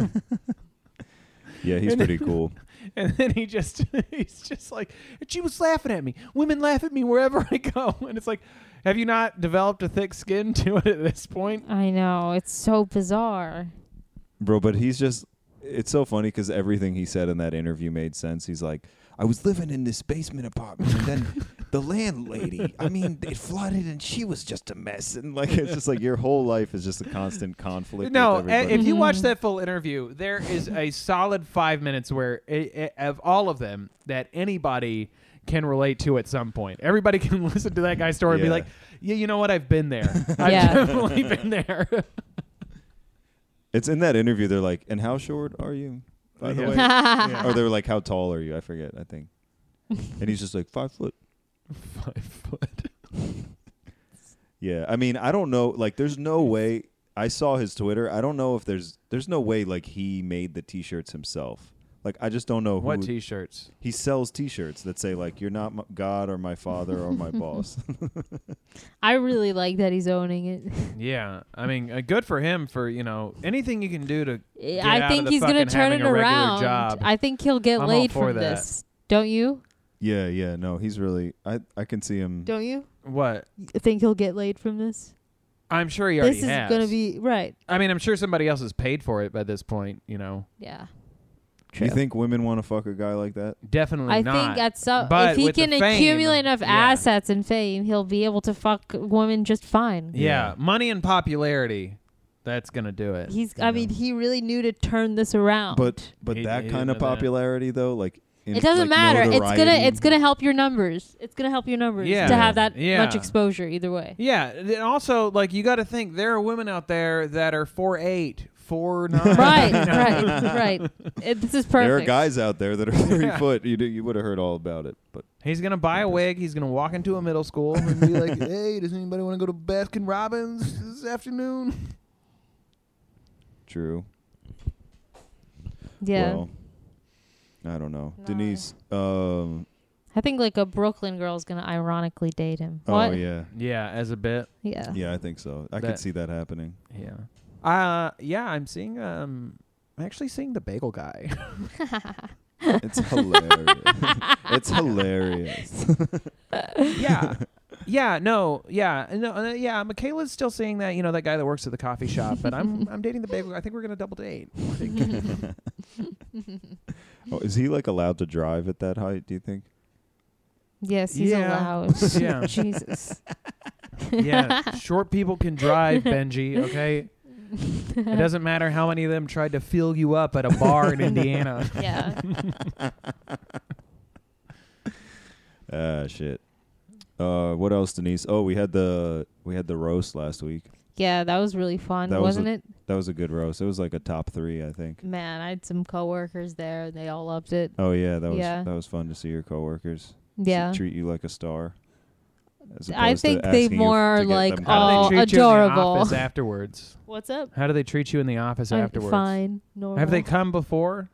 S5: Yeah, he's
S3: And then-
S5: pretty cool.
S3: And then he just [LAUGHS] he's just like and she was laughing at me. Women laugh at me wherever [LAUGHS] I go. And it's like, have you not developed a thick skin [LAUGHS] to it at this point?
S4: I know. It's so bizarre.
S5: Bro, but he's just it's so funny cuz everything he said in that interview made sense. He's like, "I was living in this basement apartment and then the landlady, I mean, it flooded and she was just a mess." And like it's just like your whole life is just a constant conflict
S3: No,
S5: with
S3: a- if
S5: everybody.
S3: you watch
S4: Mhm.
S3: that full interview, there is a solid five minutes where i i of all of them that anybody can relate to at some point. Everybody [LAUGHS] can listen to that guy's story and be
S5: Yeah.
S3: like, yeah, you know what? I've been
S4: [LAUGHS]
S3: there. I've
S4: Yeah.
S3: definitely
S5: [LAUGHS]
S3: been there.
S5: it's in that interview they're like, "And how short are you?" By the
S3: Yeah.
S4: [LAUGHS]
S5: way.
S4: yeah.
S5: Or they were like, "How tall are you?" I forget, I think. And he's just like, five foot."
S3: Five foot.
S5: [LAUGHS] Yeah, I mean, I don't know. Like, there's no way. I saw his Twitter. I don't know if there's there's no way like he made the T-shirts himself. Like, I just don't know who
S3: What t-shirts?
S5: he sells T-shirts that say like "You're not my God or my father or
S3: [LAUGHS]
S5: my boss." [LAUGHS]
S4: I really like that he's owning it.
S3: Yeah, I mean, uh, good for him for you know anything you can do to out
S4: I
S3: of
S4: think
S3: the
S4: he's gonna
S3: fucking
S4: turn
S3: having
S4: it
S3: a regular
S4: around.
S3: job.
S4: I think he'll get
S3: I'm all
S4: laid
S3: for
S4: from
S3: that.
S4: this. Don't you?
S5: yeah, yeah. No, he's really. I I can see him.
S4: Don't you?
S3: what
S4: I think he'll get laid from this.
S3: I'm sure he already
S4: This is
S3: has.
S4: gonna be right.
S3: I mean, I'm sure somebody else has paid for it by this point. You know,
S4: Yeah.
S5: You think women want to fuck a guy like that?
S3: definitely
S4: I
S3: not.
S4: think at some
S3: But
S4: if he
S3: with the
S4: can
S3: fame,
S4: accumulate enough
S3: yeah.
S4: assets and fame, he'll be able to fuck women just fine.
S3: yeah,
S5: Yeah.
S3: money and popularity, that's gonna do it.
S4: He's
S3: you
S4: I mean,
S3: know?
S4: he really knew to turn this around.
S5: But but
S3: He-
S5: that
S3: he didn't
S5: kind
S3: know
S5: of
S3: that.
S5: popularity though, like in-
S4: it doesn't
S5: like,
S4: matter. It's gonna
S5: notoriety-
S4: it's gonna help your numbers. It's gonna help your numbers
S3: Yeah.
S4: to have that
S3: Yeah.
S4: much exposure either way.
S3: [LAUGHS] yeah, and also like you got to think there are women out there that are four eight, four nine. [LAUGHS]
S4: right, right, right. It, this is perfect.
S5: There are guys out there that are three
S3: Yeah.
S5: foot. You do, you would have heard all about it, but
S3: He's gonna buy a wig. He's gonna walk into a middle school and be like, "Hey, does anybody want to go to Baskin Robbins this afternoon?"
S5: true.
S4: Yeah.
S5: Well, I don't know.
S4: No.
S5: Denise, um,
S4: I think like a Brooklyn girl's gonna ironically date him.
S5: oh
S4: What?
S5: yeah.
S3: Yeah, as a bit.
S4: Yeah.
S5: Yeah, I think so. I
S3: That-
S5: could see
S4: [LAUGHS]
S5: that happening.
S3: Yeah. Uh yeah, I'm seeing um I'm actually seeing the bagel guy.
S5: It's hilarious. it's hilarious.
S3: yeah. Yeah, no, yeah. No, uh, yeah, Michaela's still seeing that, you know, that guy that works at the coffee shop, but I'm I'm dating the bagel guy. I think we're going to double date. I think-
S5: Oh, is he like allowed to drive at that height, do you think?
S4: Yes, he's
S3: Yeah.
S4: allowed.
S3: [LAUGHS] Yeah.
S4: [LAUGHS] Jesus.
S3: yeah, short people can drive, Benji, okay? It doesn't matter how many of them tried to fill you up at a bar in Indiana.
S4: Yeah.
S5: Ah, shit. Uh, what else, Denise? Oh, we had the we had the roast last week.
S4: Yeah, that was really fun,
S5: That was
S4: wasn't it?
S5: That was a good roast. It was like a top three, I think.
S4: Man, I had some coworkers there and they all loved it.
S5: Oh yeah, that was
S4: Yeah.
S5: that was fun to see your coworkers. s-
S4: Yeah.
S5: treat you like a star. as
S4: I
S5: opposed to
S4: think they
S5: asking you
S4: more
S5: to get
S4: like,
S3: [LAUGHS]
S5: them
S3: How
S4: Oh,
S3: do they treat you in
S4: adorable.
S3: the office afterwards?
S4: What's up?
S3: How do they treat you in the office
S4: I'm
S3: afterwards?
S4: fine. Normal.
S3: Have they come before?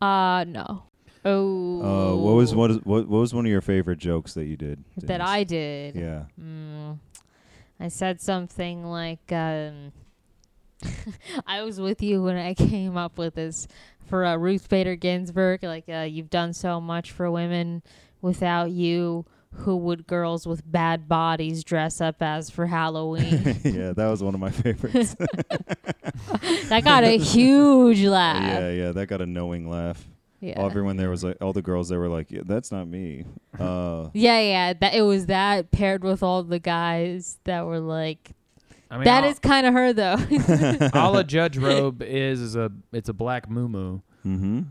S4: Uh no. Oh.
S5: Uh, what was what, is, what what was one of your favorite jokes that you did?
S4: that
S5: Denise?
S4: I did?
S5: Yeah.
S4: Mm, I said something like, um, [LAUGHS] I was with you when I [LAUGHS] came up with this for uh, Ruth Bader Ginsburg. Like, uh, you've done so much for women. Without you, who would girls with bad bodies dress up as for
S5: [LAUGHS]
S4: Halloween?
S5: yeah, that was one of my favorites.
S4: that got a huge laugh.
S5: yeah, yeah, that got a knowing laugh.
S4: Yeah.
S5: All everyone there was like, all the girls there were like, yeah, that's
S4: [LAUGHS]
S5: not me. Uh,
S4: yeah, yeah, that it was that paired with all the guys that were like,
S3: I mean,
S4: that
S3: I'll-
S4: is kind of her
S5: [LAUGHS]
S4: though.
S3: [LAUGHS] all a judge robe is is a it's a black muumuu,
S5: mm-hmm.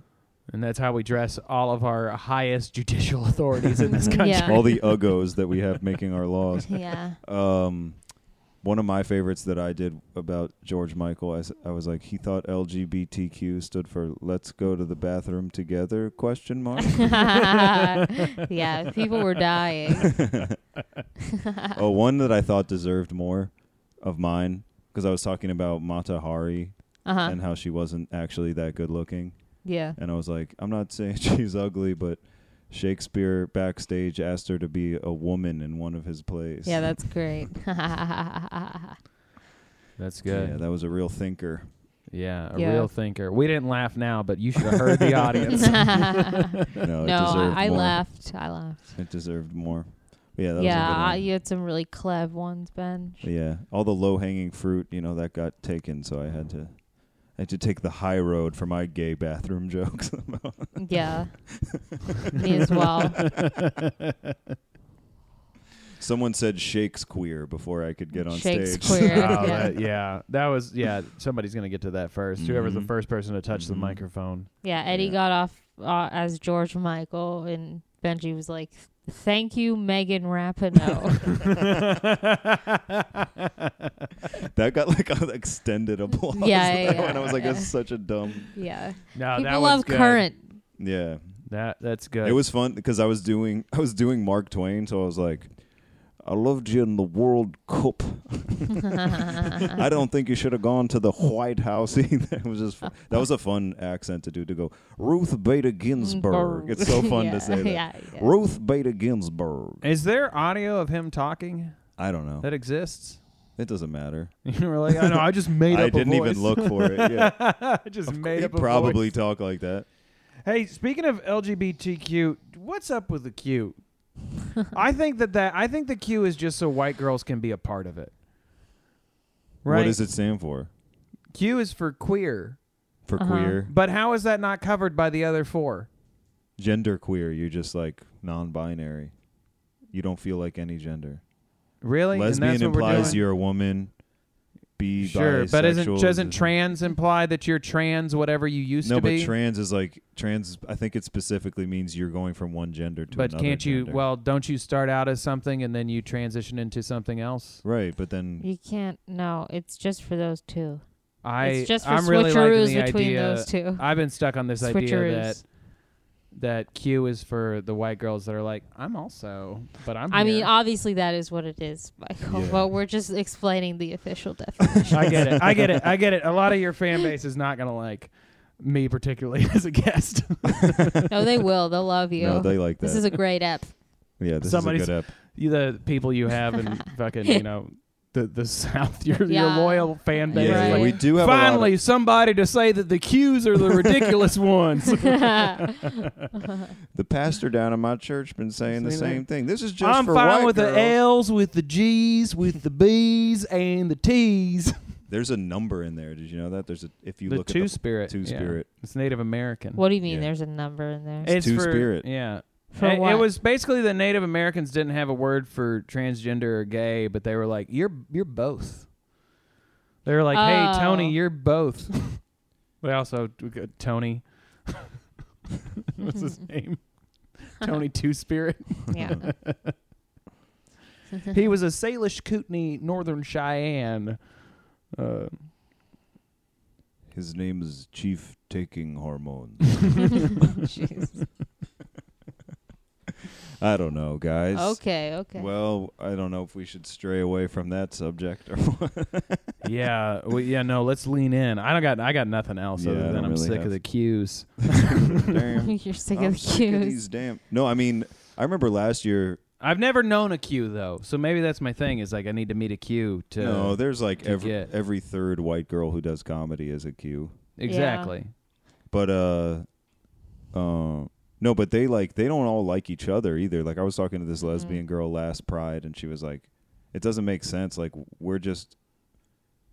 S3: and that's how we dress all of our highest judicial authorities [LAUGHS] in this country.
S4: Yeah.
S5: All the uggos that we have making our laws.
S4: yeah. [LAUGHS]
S5: Um, one of my favorites that I did about George Michael, I, s- I was like, he thought LGBTQ stood for "Let's go to the bathroom together?" Question
S4: [LAUGHS]
S5: mark.
S4: yeah, people were
S5: [LAUGHS]
S4: dying.
S5: oh, one that I thought deserved more of mine because I was talking about Mata Hari
S4: Uh huh.
S5: and how she wasn't actually that good looking.
S4: Yeah.
S5: [LAUGHS] and I was like, I'm not saying she's ugly, but Shakespeare backstage asked her to be a woman in one of his plays.
S4: Yeah, that's great. [LAUGHS]
S5: [LAUGHS]
S4: yeah,
S3: That's
S5: Yeah,
S3: good.
S5: that was a
S4: [LAUGHS]
S5: real thinker.
S3: Yeah, a
S4: Yeah.
S3: real thinker. We didn't laugh now, but you should have heard the [LAUGHS] audience. Uh,
S5: No, it
S4: no,
S5: deserved
S4: I, I
S5: more.
S4: laughed. I laughed.
S5: It deserved more. But yeah, that
S4: Yeah, I,
S5: was a good one.
S4: you had some really clever ones, Ben.
S5: But yeah, all the low hanging fruit, you know, that got taken, so I had to, I had to take the high road for my gay bathroom [LAUGHS] jokes. [LAUGHS]
S4: Yeah, me as well.
S5: Someone said Shakespeare before I could get on stage.
S4: Shakespeare.
S3: Wow,
S4: [LAUGHS] yeah.
S3: that- yeah, that was yeah. Somebody's gonna get to that 1st Whoever's the
S5: Mhm.
S3: first person to touch the
S5: Mhm.
S3: microphone.
S4: Yeah, Eddie
S5: Yeah.
S4: got off uh, as George Michael, and Benji was like, "Thank you, Megan
S5: [LAUGHS]
S4: Rapinoe."
S5: [LAUGHS] That got like an extended applause.
S4: Yeah, yeah,
S5: [LAUGHS] that one. I was like,
S4: yeah.
S5: that's such a dumb.
S4: yeah,
S3: [LAUGHS] no, that
S4: people
S3: one's
S4: love
S3: good.
S4: current.
S5: Yeah,
S3: That that's good.
S5: It was fun because I was doing I was doing Mark Twain, so I was like, "I loved you in the World Cup. [LAUGHS] I don't think you should have gone to the White House [LAUGHS] either." It was just fu- that was a fun accent to do to go Ruth Bader Ginsburg. It's so
S4: [LAUGHS]
S5: fun
S4: Yeah,
S5: to say that.
S4: Yeah, yeah.
S5: Ruth Bader Ginsburg.
S3: Is there audio of him talking
S5: I don't know.
S3: that exists? [LAUGHS]
S5: It doesn't matter.
S3: You were like, I know, I just made up.
S5: I
S3: a
S5: didn't even
S3: voice."
S5: look for it. Yeah.
S3: [LAUGHS] I just made
S5: he
S3: up. a
S5: probably
S3: voice.
S5: talk like that.
S3: Hey, speaking of LGBTQ, what's up with the
S4: [LAUGHS]
S3: Q? I think that that I think the Q is just so white girls can be a part of it. Right.
S5: What does it stand for?
S3: Q is for queer.
S5: For
S4: Uh-huh.
S5: queer,
S3: But how is that not covered by the other four?
S5: gender queer. You're just like non-binary. You don't feel like any gender.
S3: Really? And
S5: Lesbian
S3: that's what we're
S5: implies
S3: doing?
S5: you're a woman. Be
S3: sure, but isn't
S5: bisexual
S3: doesn't
S5: is-
S3: trans imply that you're trans whatever you used
S5: no,
S3: to
S5: but
S3: be?
S5: trans is like trans. I think it specifically means you're going from one gender to
S3: but
S5: another.
S3: can't you?
S5: gender.
S3: Well, don't you start out as something and then you transition into something else?
S5: right? But then
S4: You can't. No, it's just for those two.
S3: I
S4: it's just for
S3: I'm really liking
S4: switcheroos
S3: the
S4: between
S3: idea.
S4: those two.
S3: I've been stuck on this idea
S4: switcheroos.
S3: that that Q is for the white girls that are like, I'm also, but I'm.
S4: I mean,
S3: here."
S4: obviously that is what it is, Michael.
S5: Yeah.
S4: But we're just explaining the official [LAUGHS] definition.
S3: I get it. I get it. I get it. A lot of your fan base is not gonna like me particularly [LAUGHS] as a guest.
S4: no, they will. They'll love you.
S5: no, they like that.
S4: this is a great
S5: [LAUGHS]
S4: app. [LAUGHS]
S5: yeah, this
S3: somebody's-
S5: is a good app.
S3: you, the people you have
S4: [LAUGHS]
S3: and fucking you know the the South, [LAUGHS] your your
S4: Yeah.
S3: loyal fan base.
S5: Yeah,
S4: Right.
S5: we do have
S3: Finally, somebody to say that the Qs are
S5: [LAUGHS]
S3: the ridiculous ones.
S5: A lot of, the pastor down in my church been saying the
S3: Seen that?
S5: same thing. This is just
S3: I'm
S5: for
S3: fine
S5: white
S3: with
S5: girls.
S3: the L's, with the G's, with the B's, and the T's.
S5: There's a number in there. Did you know that? There's a if you
S3: the
S5: look
S3: two
S5: at the
S3: spirit.
S5: two spirit.
S3: It's Native American.
S4: What do you mean?
S5: Yeah.
S4: There's a number in there.
S3: It's
S5: Two
S3: for-
S5: Spirit.
S3: Yeah.
S4: For
S3: it, it
S4: what?
S3: was basically the Native Americans didn't have a word for transgender or gay, but they were like, "You're you're both." They were like,
S4: Oh.
S3: "Hey, Tony, you're both."
S4: [LAUGHS]
S3: they also we got Tony. [LAUGHS] What's his name? Tony
S4: [LAUGHS]
S3: Two Spirit.
S4: [LAUGHS] yeah.
S3: [LAUGHS] he was a Salish Kootenai Northern Cheyenne. Uh,
S5: His name is Chief Taking Hormone.
S4: Jeez.
S5: I don't know, guys.
S4: Okay. Okay.
S5: Well, I don't know if we should stray away from
S3: [LAUGHS]
S5: that subject or what.
S3: yeah, we, yeah. No, let's lean in. I don't got I got nothing else
S5: Yeah, I
S3: other than
S5: don't
S3: I'm
S5: really
S3: sick
S5: have-
S3: of the cues.
S4: [LAUGHS] [LAUGHS]
S5: Damn.
S4: You're sick
S5: I'm
S4: of
S5: sick of
S4: cues.
S5: these damn. No, I mean, I remember last year.
S3: I've never known a Q though, so maybe that's my thing. Is like I need to meet a Q to
S5: no, there's like
S3: to
S5: every
S3: get.
S5: every third white girl who does comedy is a Q.
S3: exactly.
S5: But uh, uh, no, but they like they don't all like each other either. Like I was talking to this lesbian girl last Pride, and she was like, "It doesn't make sense. Like we're just."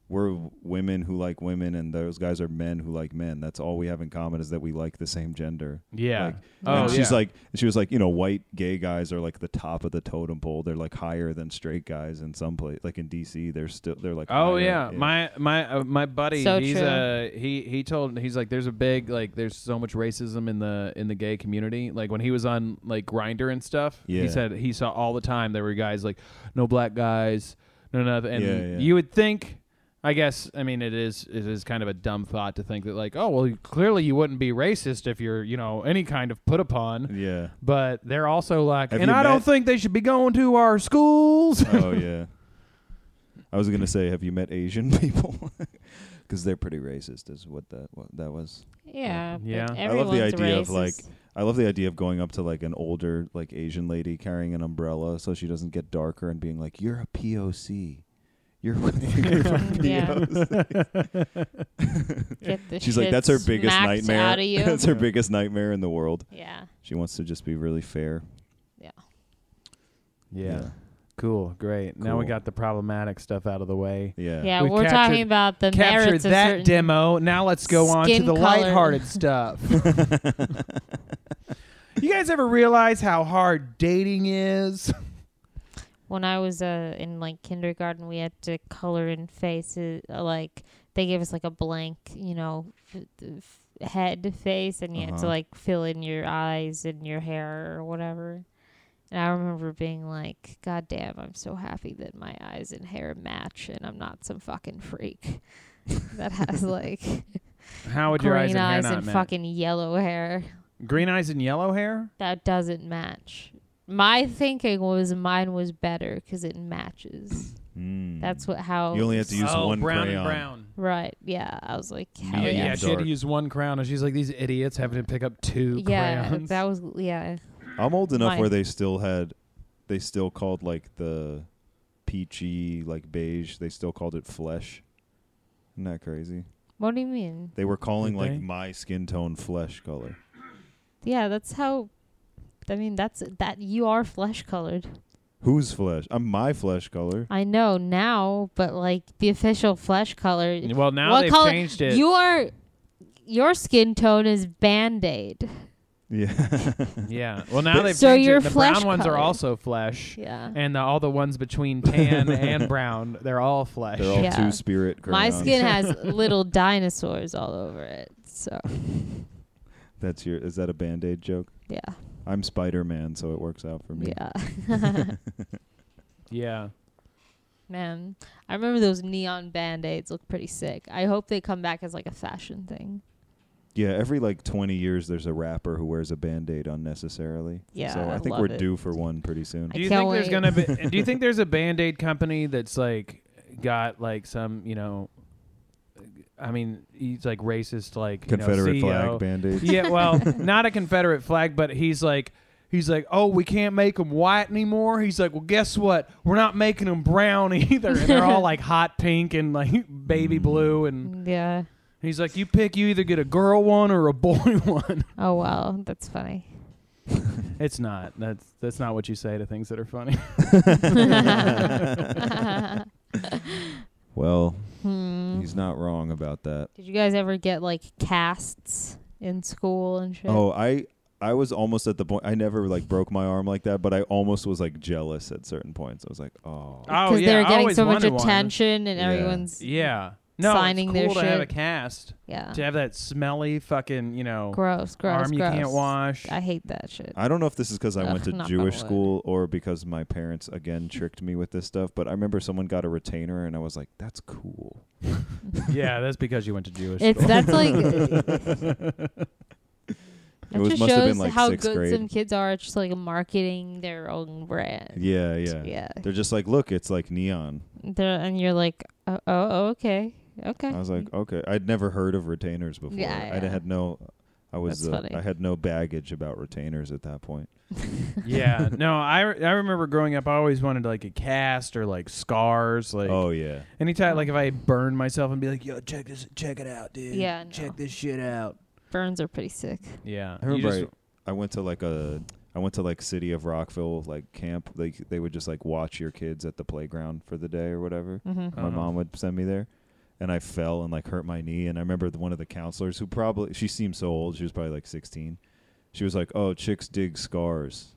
S5: We're women who like women, and those guys are men who like men. That's all we have in common is that we like the same gender.
S3: Yeah.
S5: Like,
S3: oh,
S5: and
S3: yeah.
S5: she's like, she was like, you know, white gay guys are like the top of the totem pole. They're like higher than straight guys in some place, like in DC. They're still, they're like,
S3: Oh
S5: higher.
S3: yeah, my my uh, my buddy.
S4: So
S3: he's
S4: true.
S3: uh he he told he's like there's a big like there's so much racism in the in the gay community. Like when he was on like Grinder and stuff,
S5: Yeah.
S3: he said he saw all the time there were guys like no black guys, no nothing. And
S5: Yeah, yeah.
S3: you would think, I guess, I mean it is it is kind of a dumb thought to think that like oh well clearly you wouldn't be racist if you're you know any kind of put upon.
S5: yeah,
S3: But they're also like,
S5: Have
S3: and
S5: you
S3: I don't
S5: met-
S3: think they should be going to our schools. [LAUGHS]
S5: oh yeah. I was gonna say, have you met Asian [LAUGHS] people? Because they're pretty racist, is what that what that was.
S4: Yeah. but
S3: Yeah. I love the
S4: everyone's
S5: idea of, like,
S4: racist.
S5: I love the idea of going up to like an older like Asian lady carrying an umbrella so she doesn't get darker and being like, "You're a POC. You're, [LAUGHS] you're from
S4: [LAUGHS] Yeah.
S5: POC."
S4: Get the
S5: She's like,
S4: shit
S5: "That's her biggest
S4: smacked
S5: nightmare.
S4: Out of you.
S5: [LAUGHS] That's her biggest nightmare in the world.
S4: yeah.
S5: She wants to just be really fair."
S3: yeah. Cool. Great. Now we
S5: Cool.
S3: got the problematic stuff out of the way.
S5: Yeah.
S4: Yeah,
S3: We
S4: we are
S3: captured-
S4: talking about the
S3: Captured
S4: merits of
S3: that
S4: certain
S3: demo. Now let's go on to
S4: skin
S3: the
S4: color.
S3: [LAUGHS] lighthearted stuff. you guys ever realize how hard dating is?
S4: when I was uh, in like kindergarten, we had to color in faces. uh, Like they gave us like a blank, you know, f- f- head face, and you had
S5: Uh-huh.
S4: to like fill in your eyes and your hair or whatever. And I remember being like, "God damn, I'm so happy that my eyes and hair match, and I'm not some fucking freak [LAUGHS] that has like
S3: How would your eyes
S4: green
S3: and hair
S4: eyes
S3: not
S4: and
S3: match?
S4: fucking yellow hair."
S3: Green eyes and yellow hair?
S4: that doesn't match. My thinking was mine was better because it matches.
S5: Mm.
S4: That's what how
S5: You only have to use
S3: oh,
S5: one
S3: brown
S5: crayon.
S3: and brown.
S4: right. Yeah, I was like, hell
S3: Yeah,
S5: Yeah,
S3: yeah,
S5: yeah.
S3: she had to
S5: Dark.
S3: use one crown, and she's like, "These idiots having to pick up two
S4: yeah,
S3: crayons." [LAUGHS]
S4: that was yeah.
S5: I'm old enough
S4: Mine.
S5: where they still had, they still called like the peachy like beige. They still called it flesh. Isn't that crazy?
S4: What do you mean?
S5: They were calling
S3: Did
S5: like
S3: they?
S5: my skin tone flesh color.
S4: Yeah, that's how. I mean, that's that you are flesh colored.
S5: Whose flesh? I'm my flesh color.
S4: I know now, but like the official flesh color.
S3: well, now
S4: What
S3: they've
S4: color-
S3: changed it.
S4: You are. Your skin tone is band aid.
S5: Yeah.
S3: yeah. Well, [LAUGHS] now they've
S4: So
S3: changed
S4: you're
S3: it. The brown
S4: flesh
S3: ones are
S4: colored.
S3: also flesh,
S4: Yeah.
S3: and the, all the ones between
S5: [LAUGHS]
S3: tan and brown, they're all flesh.
S5: [LAUGHS] They're all
S4: Yeah.
S5: two spirit
S4: My
S5: crayons.
S4: skin has
S3: [LAUGHS]
S4: little dinosaurs all over it. So,
S5: That's your. Is that a band aid joke?
S4: yeah.
S5: I'm Spider Man, so it works out for me.
S4: Yeah.
S3: yeah.
S4: Man, I remember those neon band aids look pretty sick. I hope they come back as like a fashion thing.
S5: Yeah, every like 20 years, there's a rapper who wears a band aid unnecessarily.
S4: Yeah,
S5: So I
S4: I
S5: think
S4: love
S5: we're
S4: it.
S5: due for one pretty soon.
S4: I
S3: Do you
S4: can't
S3: think there's
S4: wait.
S3: gonna
S4: [LAUGHS]
S3: be? do you think there's a band aid company that's like got like some you know? I mean, he's like racist, like you know,
S5: Confederate
S3: CEO.
S5: flag band aid.
S3: Yeah,
S5: [LAUGHS]
S3: well, not a Confederate flag, but he's like, he's like, oh, we can't make them white anymore. He's like, well, guess what? We're not making them brown [LAUGHS] either. And they're all like hot pink and like
S5: Mm.
S3: baby blue. And
S4: Yeah.
S3: he's like, you pick, you either get a girl one or a boy [LAUGHS] one.
S4: Oh wow, that's funny.
S3: [LAUGHS]
S4: [LAUGHS]
S3: It's not. That's that's not what you say to things that are funny.
S4: Did
S5: Well,
S3: Hmm.
S5: he's not wrong about that.
S4: you guys ever get like casts in school and shit?
S5: Oh, I I was almost at the point I never like broke my arm like that, but I almost was like jealous at certain points. I was like, "Oh."
S3: [LAUGHS] Oh
S4: Because
S3: yeah,
S4: they were
S3: I
S4: getting
S3: always
S4: so much
S3: wanted one.
S4: attention and
S5: Yeah.
S4: everyone's
S3: Yeah. No,
S4: Signing
S3: it's
S4: their
S3: cool to have a
S4: shit.
S3: cast.
S4: yeah.
S3: To have that smelly fucking, you know,
S4: Gross, gross,
S3: arm you
S4: gross.
S3: can't wash.
S4: I [LAUGHS] hate that shit.
S5: I don't know if this is because I went
S4: [LAUGHS] Ugh,
S5: to
S4: knock on
S5: Jewish
S4: wood.
S5: school or because my parents again tricked me with this stuff, but I remember someone got a retainer and I was like, "That's cool."
S3: yeah, that's because you went to Jewish
S4: It's
S3: school.
S4: that's like
S5: [LAUGHS] It
S4: That
S5: was-
S4: just
S5: must have been,
S4: shows
S5: like,
S4: how
S5: sixth
S4: good
S5: grade.
S4: some kids are at just like marketing their own brand.
S5: Yeah, yeah.
S4: Yeah.
S5: They're just like, "Look, it's like neon."
S4: They're, and you're like, oh, oh oh, okay, okay.
S5: I was like, "Okay, I'd never heard of retainers before.
S4: Mm-hmm. Yeah,
S5: I
S4: yeah.
S5: had no I was
S4: That's
S5: uh,
S4: funny.
S5: I had no baggage about retainers at that point.
S3: [LAUGHS] yeah no I, re- I remember growing up i always wanted like a cast or like scars like
S5: oh yeah.
S3: anytime like if i burned myself and be like yo check this check it out dude
S4: Oh. Yeah, no.
S3: check this shit out
S4: Burns are pretty sick.
S3: yeah
S5: I
S3: you
S5: remember
S3: just-
S5: I, I went to like a I went to like City of Rockville like camp. They they would just like watch your kids at the playground for the day or whatever.
S4: Mm-hmm.
S3: Uh-huh.
S5: My mom would send me there, and I fell and like hurt my knee. And I remember the, one of the counselors who probably she seemed so old. She was probably like sixteen. She was like, "Oh, chicks dig scars."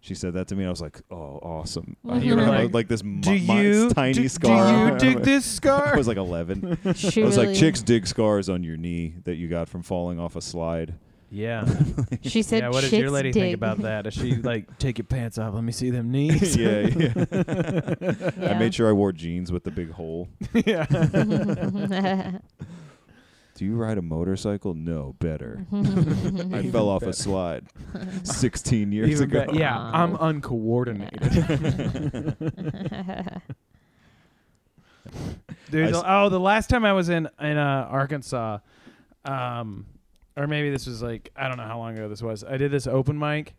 S5: She said that to me, and I was like, "Oh, awesome!" I
S4: You were
S5: I had,
S3: like,
S5: like this
S3: do
S5: mi- mi-
S3: you
S5: tiny
S3: do,
S5: scar.
S3: do you [LAUGHS] dig this
S5: [LAUGHS] I
S3: scar
S5: was like eleven.
S3: [LAUGHS]
S4: She
S5: [LAUGHS] I was
S4: really,
S5: like, "Chicks dig scars on your knee that you got from falling off
S3: [LAUGHS]
S5: a slide."
S3: yeah
S4: [LAUGHS] She said,
S3: yeah what does
S4: "Chicks
S3: your lady
S4: dig."
S3: think about that is she like take your pants off let me see
S4: [LAUGHS]
S3: them knees
S5: yeah, [LAUGHS] yeah. I
S4: Yeah.
S5: made sure I wore jeans with the big hole.
S3: [LAUGHS] yeah
S5: Do you ride a motorcycle? No, better.
S4: Mm-hmm.
S5: I fell off a slide [LAUGHS] 16 years
S3: Even
S5: ago.
S3: bet- yeah i'm
S4: Wow.
S3: uncoordinated
S5: [LAUGHS]
S3: Dude,
S5: I s-
S3: the- oh, the last time I was in in uh, Arkansas, um, or maybe this was like I don't know how long ago this was. I did this open mic,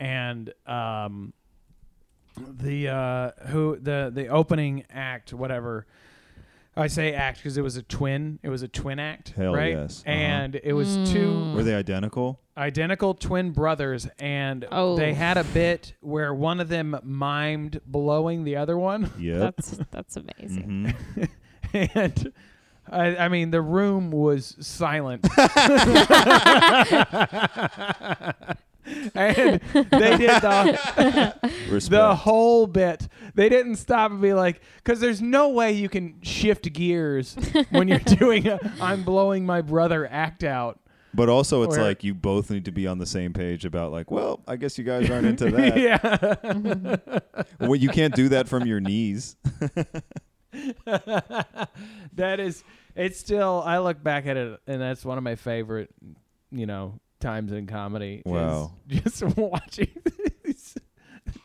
S3: and um, the uh, who the the opening act whatever. I say act because it was a twin. It was a twin act,
S5: Hell
S3: right?
S5: yes. Uh-huh.
S3: And it was two
S5: Were they identical?
S3: identical twin brothers and
S4: Oh.
S3: they had a bit where one of them mimed blowing the other one [LAUGHS]
S5: Yep.
S4: [LAUGHS]
S5: [LAUGHS]
S4: That's that's amazing.
S5: Mhm.
S3: and I, I mean the room was silent [LAUGHS] and they did the,
S4: [LAUGHS]
S5: Respect.
S3: the whole bit they didn't stop and be like because there's no way you can shift gears when you're [LAUGHS] doing a, i'm blowing my brother act out
S5: But also, it's
S3: Or-
S5: like you both need to be on the same page about like, well, I guess you guys aren't
S3: [LAUGHS]
S5: into that.
S3: yeah
S5: Well, you can't do that from your knees.
S3: [LAUGHS]
S5: [LAUGHS]
S3: that is it's still i look back at it and that's one of my favorite you know times in comedy is
S5: Wow.
S3: [LAUGHS] just watching these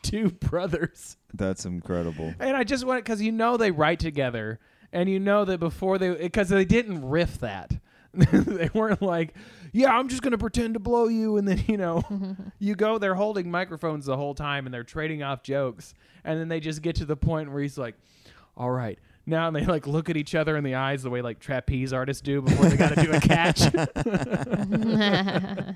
S3: two brothers
S5: That's incredible.
S3: and i just want because you know they write together and you know that before they because they didn't riff that [LAUGHS] they weren't like yeah i'm just gonna pretend to blow you and then you know [LAUGHS] you go they're holding microphones the whole time and they're trading off jokes and then they just get to the point where he's like all right now and they like look at each other in the eyes the way like trapeze artists do before they gotta do a catch
S5: Mm-hmm.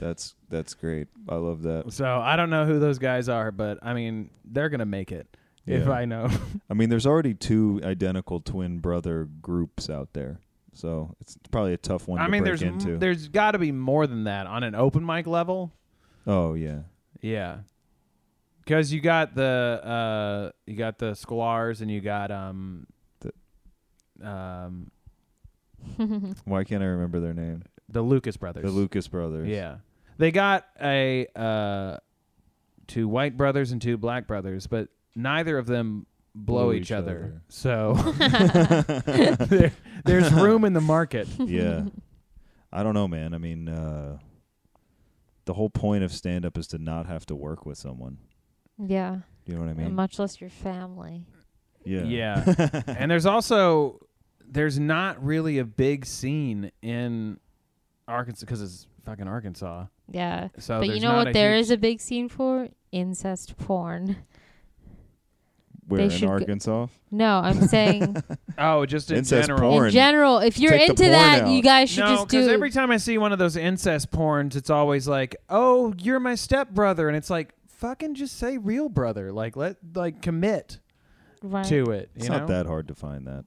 S5: That's that's great. I love
S3: [LAUGHS]
S5: that.
S3: so i don't know who those guys are but i mean they're gonna make it if
S5: Yeah.
S3: i know
S5: I mean, there's already two identical twin brother groups out there, so it's probably a tough one
S3: i
S5: to
S3: mean
S5: break
S3: there's m-
S5: into.
S3: there's gotta be more than that on an open mic level
S5: oh yeah,
S3: Yeah. Cause you got the uh you got the Skolars and you got um um
S5: why can't I remember their name?
S3: the Lucas brothers.
S5: The Lucas
S4: [LAUGHS]
S5: brothers.
S3: Yeah. They got a uh two white brothers and two black brothers, but neither of them blow,
S5: Blow
S3: each,
S5: each
S3: other.
S5: other.
S4: [LAUGHS]
S3: So [LAUGHS] there, there's room in the market.
S5: [LAUGHS] yeah. I don't know, man. I mean, uh, the whole point of stand up is to not have to work with someone.
S4: [LAUGHS] Yeah,
S5: You know what I
S4: and
S5: mean?
S4: much less your family.
S5: yeah. [LAUGHS]
S3: Yeah. and there's also there's not really a big scene in Arkansas because it's fucking Arkansas.
S4: Yeah,
S3: So
S4: but
S3: Oh,
S4: you
S3: there's
S4: know
S3: not
S4: what?
S3: a
S4: There
S3: huge-
S4: is a big scene for incest
S5: [LAUGHS]
S4: porn.
S5: Where
S4: They
S5: in
S4: should go-
S5: Arkansas?
S4: No, I'm saying
S3: Oh, just in
S5: Incest
S3: general.
S5: porn.
S4: in general. If you're
S5: Take the
S4: into
S5: porn
S4: that,
S5: out.
S4: you guys should
S3: no,
S4: just do.
S3: every time I see one of those incest porns, it's always like, "Oh, you're my stepbrother," and it's like, "Fucking just say real brother." Like let like commit
S4: right.
S3: to it. You
S5: It's
S3: know,
S5: not that hard to
S3: [LAUGHS]
S5: find that.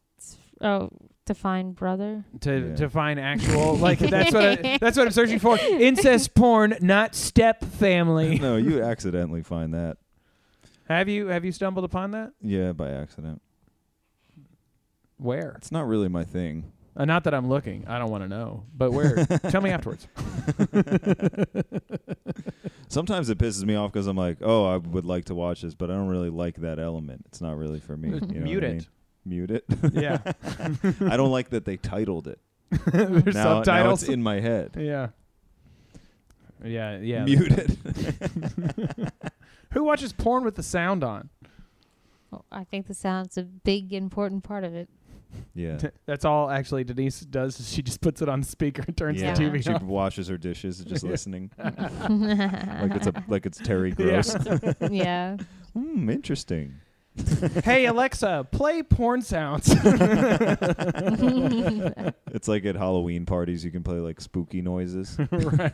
S4: Oh, define brother.
S3: to
S5: Yeah.
S3: to find actual like that's what
S4: [LAUGHS]
S3: I, that's what I'm searching for. Incest porn, not step family.
S5: [LAUGHS] no, you accidentally find that.
S3: Have you have you stumbled upon that?
S5: Yeah, by accident.
S3: Where?
S5: It's not really my
S3: [LAUGHS]
S5: thing.
S3: Uh, not that I'm looking. I don't want to know. But
S5: [LAUGHS]
S3: where? Tell me afterwards.
S5: Sometimes it pisses me off because I'm like, oh, I would like to watch this, but I don't really like that element. It's not really for me.
S3: [LAUGHS]
S5: You know what I
S3: Mute it.
S5: mean?
S3: [LAUGHS]
S5: Mute it.
S3: Yeah.
S5: I don't like that they titled it.
S3: There's
S5: Now, now
S3: subtitles.
S5: it's in my head.
S3: Yeah. Yeah, yeah.
S5: Mute it.
S3: Who watches porn with the sound on?
S4: Well, I think the sound's a big important part
S3: [LAUGHS]
S4: of it.
S5: [LAUGHS] yeah.
S3: That's all actually Denise does is she just puts it on speaker and turns
S5: yeah.
S3: the
S4: Yeah.
S3: TV
S5: She
S3: off.
S5: washes her dishes, just listening. like it's a like it's Terry
S3: Yeah.
S5: Gross.
S4: [LAUGHS]
S3: [LAUGHS]
S4: yeah.
S5: Hmm, interesting.
S3: hey Alexa, play porn
S5: [LAUGHS]
S3: sounds.
S5: It's like at Halloween parties you can play like spooky noises.
S3: right.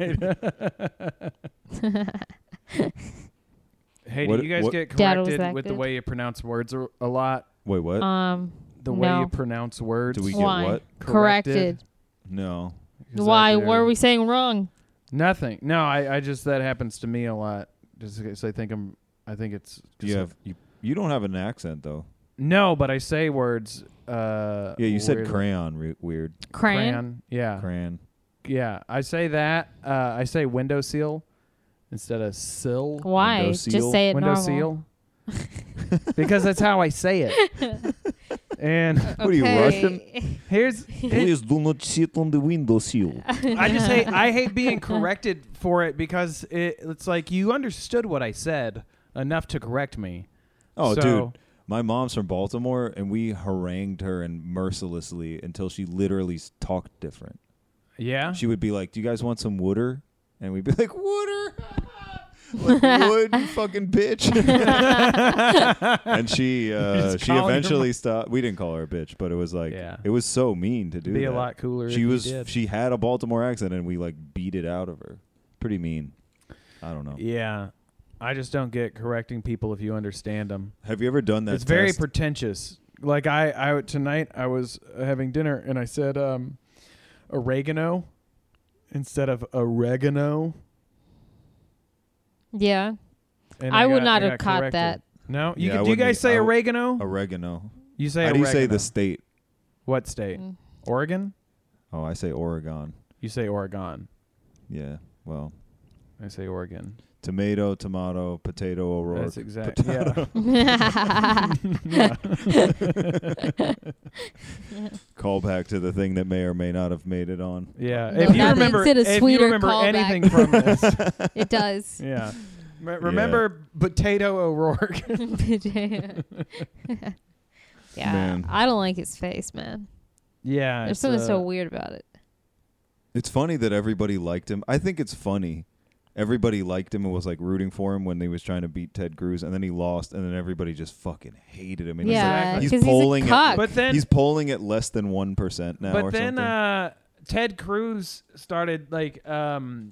S3: hey,
S5: What-
S3: do you guys
S5: what-
S3: get
S4: Dad was
S3: corrected with the
S4: active.
S3: way you pronounce words a a lot?
S5: Wait, what?
S4: Um.
S3: The way you
S4: No.
S3: pronounce words.
S5: Do we get
S4: Why?
S5: what?
S3: Corrected.
S4: Corrected.
S5: No.
S4: Why? What are we saying wrong?
S3: Nothing. No, I, I just that happens to me a lot. Just because I think I'm. I think it's.
S5: You have you, you don't have an accent though.
S3: No, but I say words. Uh,
S5: Yeah, you said
S3: weird-
S5: crayon. Re- weird
S4: Crayon.
S3: Yeah,
S5: crayon.
S3: yeah. I say that. Uh, I say window seal instead of sill.
S4: Why?
S5: Window seal?
S4: Just say it
S3: window
S4: normal.
S3: seal. because that's how I say it.
S5: [LAUGHS]
S3: and
S5: What are
S4: [LAUGHS]
S5: you,
S4: Russian?
S3: here's
S5: do not sit on the window sill.
S3: I just hate I hate being corrected for it because it, it's like you understood what I said enough to correct me.
S5: Oh,
S3: So-
S5: dude. My mom's from Baltimore, and we harangued her and mercilessly until she literally s- talked different.
S3: Yeah.
S5: she would be like, "Do you guys want some wooder?" And we'd be [LAUGHS] like, "Wooder." like wood, you fucking
S3: [LAUGHS]
S5: bitch. and she uh,
S3: Just
S5: she
S3: calling her
S5: eventually stopped. We didn't call her a bitch, but it was like
S3: Yeah.
S5: it was so mean to do.
S3: Be a
S5: that.
S3: lot cooler if
S5: She
S3: you
S5: was
S3: did.
S5: she had a Baltimore accent, and we like beat it out of her. Pretty mean. I don't know.
S3: Yeah. I just don't get correcting people if you understand them.
S5: Have you ever done that?
S3: it's very
S5: test?
S3: pretentious. Like I, I tonight I was having dinner and I said um, oregano instead of oregano.
S4: Yeah.
S3: And
S4: I
S3: got-
S4: would not
S3: got
S4: have caught
S3: corrected.
S4: that.
S3: No, you could- do
S5: Yeah, I
S3: you
S5: wouldn't
S3: guys
S5: e-
S3: say
S5: I w-
S3: oregano?
S5: oregano.
S3: you say
S5: How do you say
S3: oregano.
S5: the state?
S3: What state?
S4: Mm.
S3: Oregon.
S5: Oh, I say Oregon.
S3: You say Oregon.
S5: Yeah. Well,
S3: I say Oregon.
S5: tomato, tomato, potato, O'Rourke.
S3: That's
S5: [LAUGHS]
S3: exactly. Yeah. [LAUGHS]
S5: Call back to the thing that may or may not have made it on.
S3: Yeah.
S4: [LAUGHS] No,
S3: if you
S4: that makes
S3: remember,
S4: it a
S3: if you
S4: sweeter
S3: remember
S4: callback.
S3: anything
S4: [LAUGHS]
S3: from this, [LAUGHS]
S4: It does. [LAUGHS]
S3: yeah. Me- Remember potato O'Rourke. [LAUGHS]
S4: yeah.
S5: Man.
S4: I don't like his face, man.
S3: yeah.
S4: There's
S3: it's,
S4: something
S3: uh,
S4: so weird about it.
S5: It's funny that everybody liked him. I think it's funny. Everybody liked him and was like rooting for him when they was trying to beat Ted Cruz, and then he lost, and then everybody just fucking hated him. And he's like-
S4: yeah.
S3: Exactly.
S5: He's
S4: Because
S5: polling
S4: he's
S5: it,
S4: a cuck.
S3: uh, But then
S5: he's polling at less than one percent now.
S3: but
S5: or
S3: then
S5: something.
S3: uh ted cruz started like um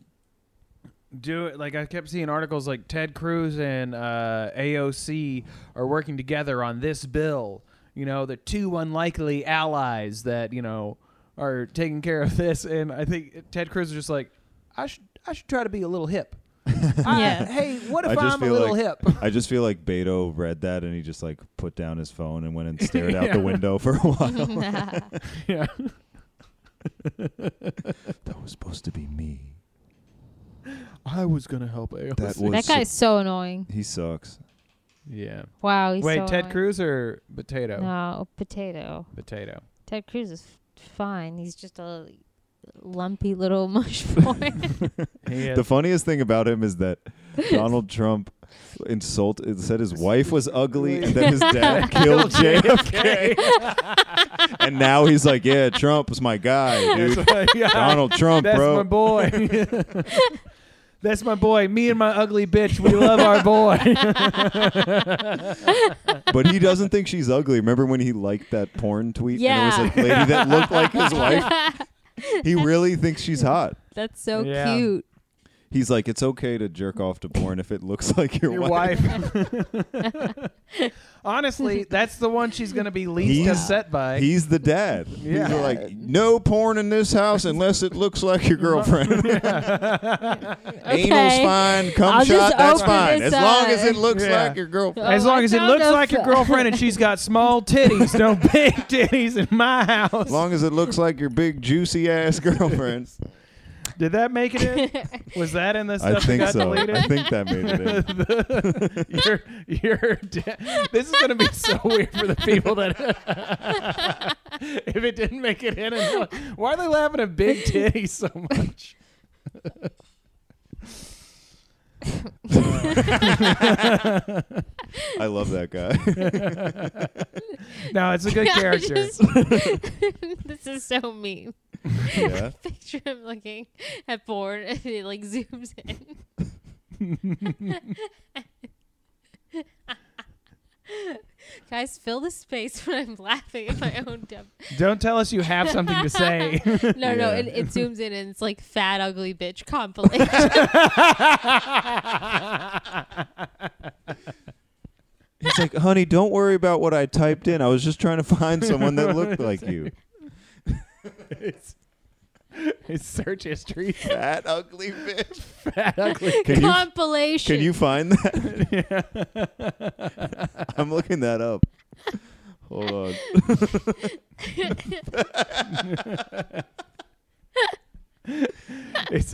S3: do it like i kept seeing articles like ted cruz and uh aoc are working together on this bill you know the two unlikely allies that you know are taking care of this and i think ted cruz is just like i should i should try to be a little
S4: [LAUGHS]
S3: hip I-
S4: Yeah.
S3: hey what
S5: I
S3: if
S5: just
S3: i'm a
S5: feel
S3: little
S5: like- [LAUGHS]
S3: hip
S5: I just feel like Beto read that and he just like put down his phone and went
S3: [LAUGHS]
S5: and stared out
S3: Yeah.
S5: the window for a while.
S3: yeah
S5: that was supposed to be me.
S3: i was gonna help aoc
S5: That was
S4: that guy's so annoying.
S5: he sucks.
S3: yeah
S4: Wow. He's
S3: wait
S4: so
S3: ted
S4: annoying.
S3: cruz or potato
S4: No, potato.
S3: potato
S4: Ted Cruz is f- fine. He's just a lumpy little [LAUGHS] mush boy.
S5: [LAUGHS]
S3: He
S5: The
S3: is-
S5: funniest thing about him is that Donald Trump insulted said his wife was ugly and then his dad killed
S3: [LAUGHS]
S5: JFK. and now he's like, yeah, Trump is my guy, dude.
S3: Yeah.
S5: Donald Trump,
S3: That's my
S5: bro.
S3: boy. [LAUGHS] That's my boy. Me and my ugly bitch. We love our boy.
S5: But he doesn't think she's ugly. Remember when he liked that porn tweet
S4: Yeah.
S5: and it was a lady that looked
S4: [LAUGHS]
S5: like his wife? He really thinks she's hot.
S4: That's so
S3: Yeah.
S4: cute.
S5: He's like, it's okay to jerk off to porn if it looks [LAUGHS] like [LAUGHS] your,
S3: Your wife.
S5: [LAUGHS]
S3: Honestly, that's the one she's going to be least
S5: He's-
S3: upset by.
S5: He's the dad.
S3: Yeah.
S5: He's like, no porn in this house unless it looks like
S3: [LAUGHS]
S5: your girlfriend. Anal's
S4: Okay.
S5: fine, cum
S4: I'll just
S5: shot, that's
S4: open
S5: fine.
S4: this
S5: As long
S4: up.
S5: as it looks
S3: Yeah.
S5: like your girlfriend.
S3: as
S4: Oh,
S3: long
S4: I
S3: as it
S4: found
S3: looks
S4: a
S3: like your
S4: f- [LAUGHS]
S3: girlfriend and she's got small titties,
S5: [LAUGHS]
S3: no big titties in my house.
S5: As long as it looks like your big juicy ass [LAUGHS] girlfriend.
S3: Did that make it in? Was that in the stuff
S5: I
S3: that
S5: think
S3: got
S5: so.
S3: deleted?
S5: I think that made it
S3: [LAUGHS]
S5: in.
S3: you're, you're de- this is going to be [LAUGHS] so weird for the people that [LAUGHS] if it didn't make it in and like, why are they laughing at big titty so much
S5: I love that guy.
S3: [LAUGHS]
S5: [LAUGHS]
S3: [LAUGHS] no it's a good
S4: [LAUGHS] I
S3: character
S4: just- [LAUGHS] this is so mean. [LAUGHS]
S5: yeah.
S4: Picture him looking at porn and he like zooms
S3: [LAUGHS]
S4: in. [LAUGHS] Guys, fill the space when I'm laughing at my own dumb.
S3: don't tell us you have something to [LAUGHS] say
S4: No, [LAUGHS] no,
S5: Yeah.
S4: it, it zooms in and it's like fat ugly bitch compilation.
S3: [LAUGHS]
S5: He's like, honey, don't worry about what I typed in. I was just trying to find someone
S3: [LAUGHS]
S5: that looked like you.
S3: it's, it's search history
S5: That ugly bitch.
S3: fat ugly
S5: [LAUGHS] Can you,
S4: compilation.
S5: can you find that? [LAUGHS] I'm looking that up. Hold on.
S4: [LAUGHS]
S3: it's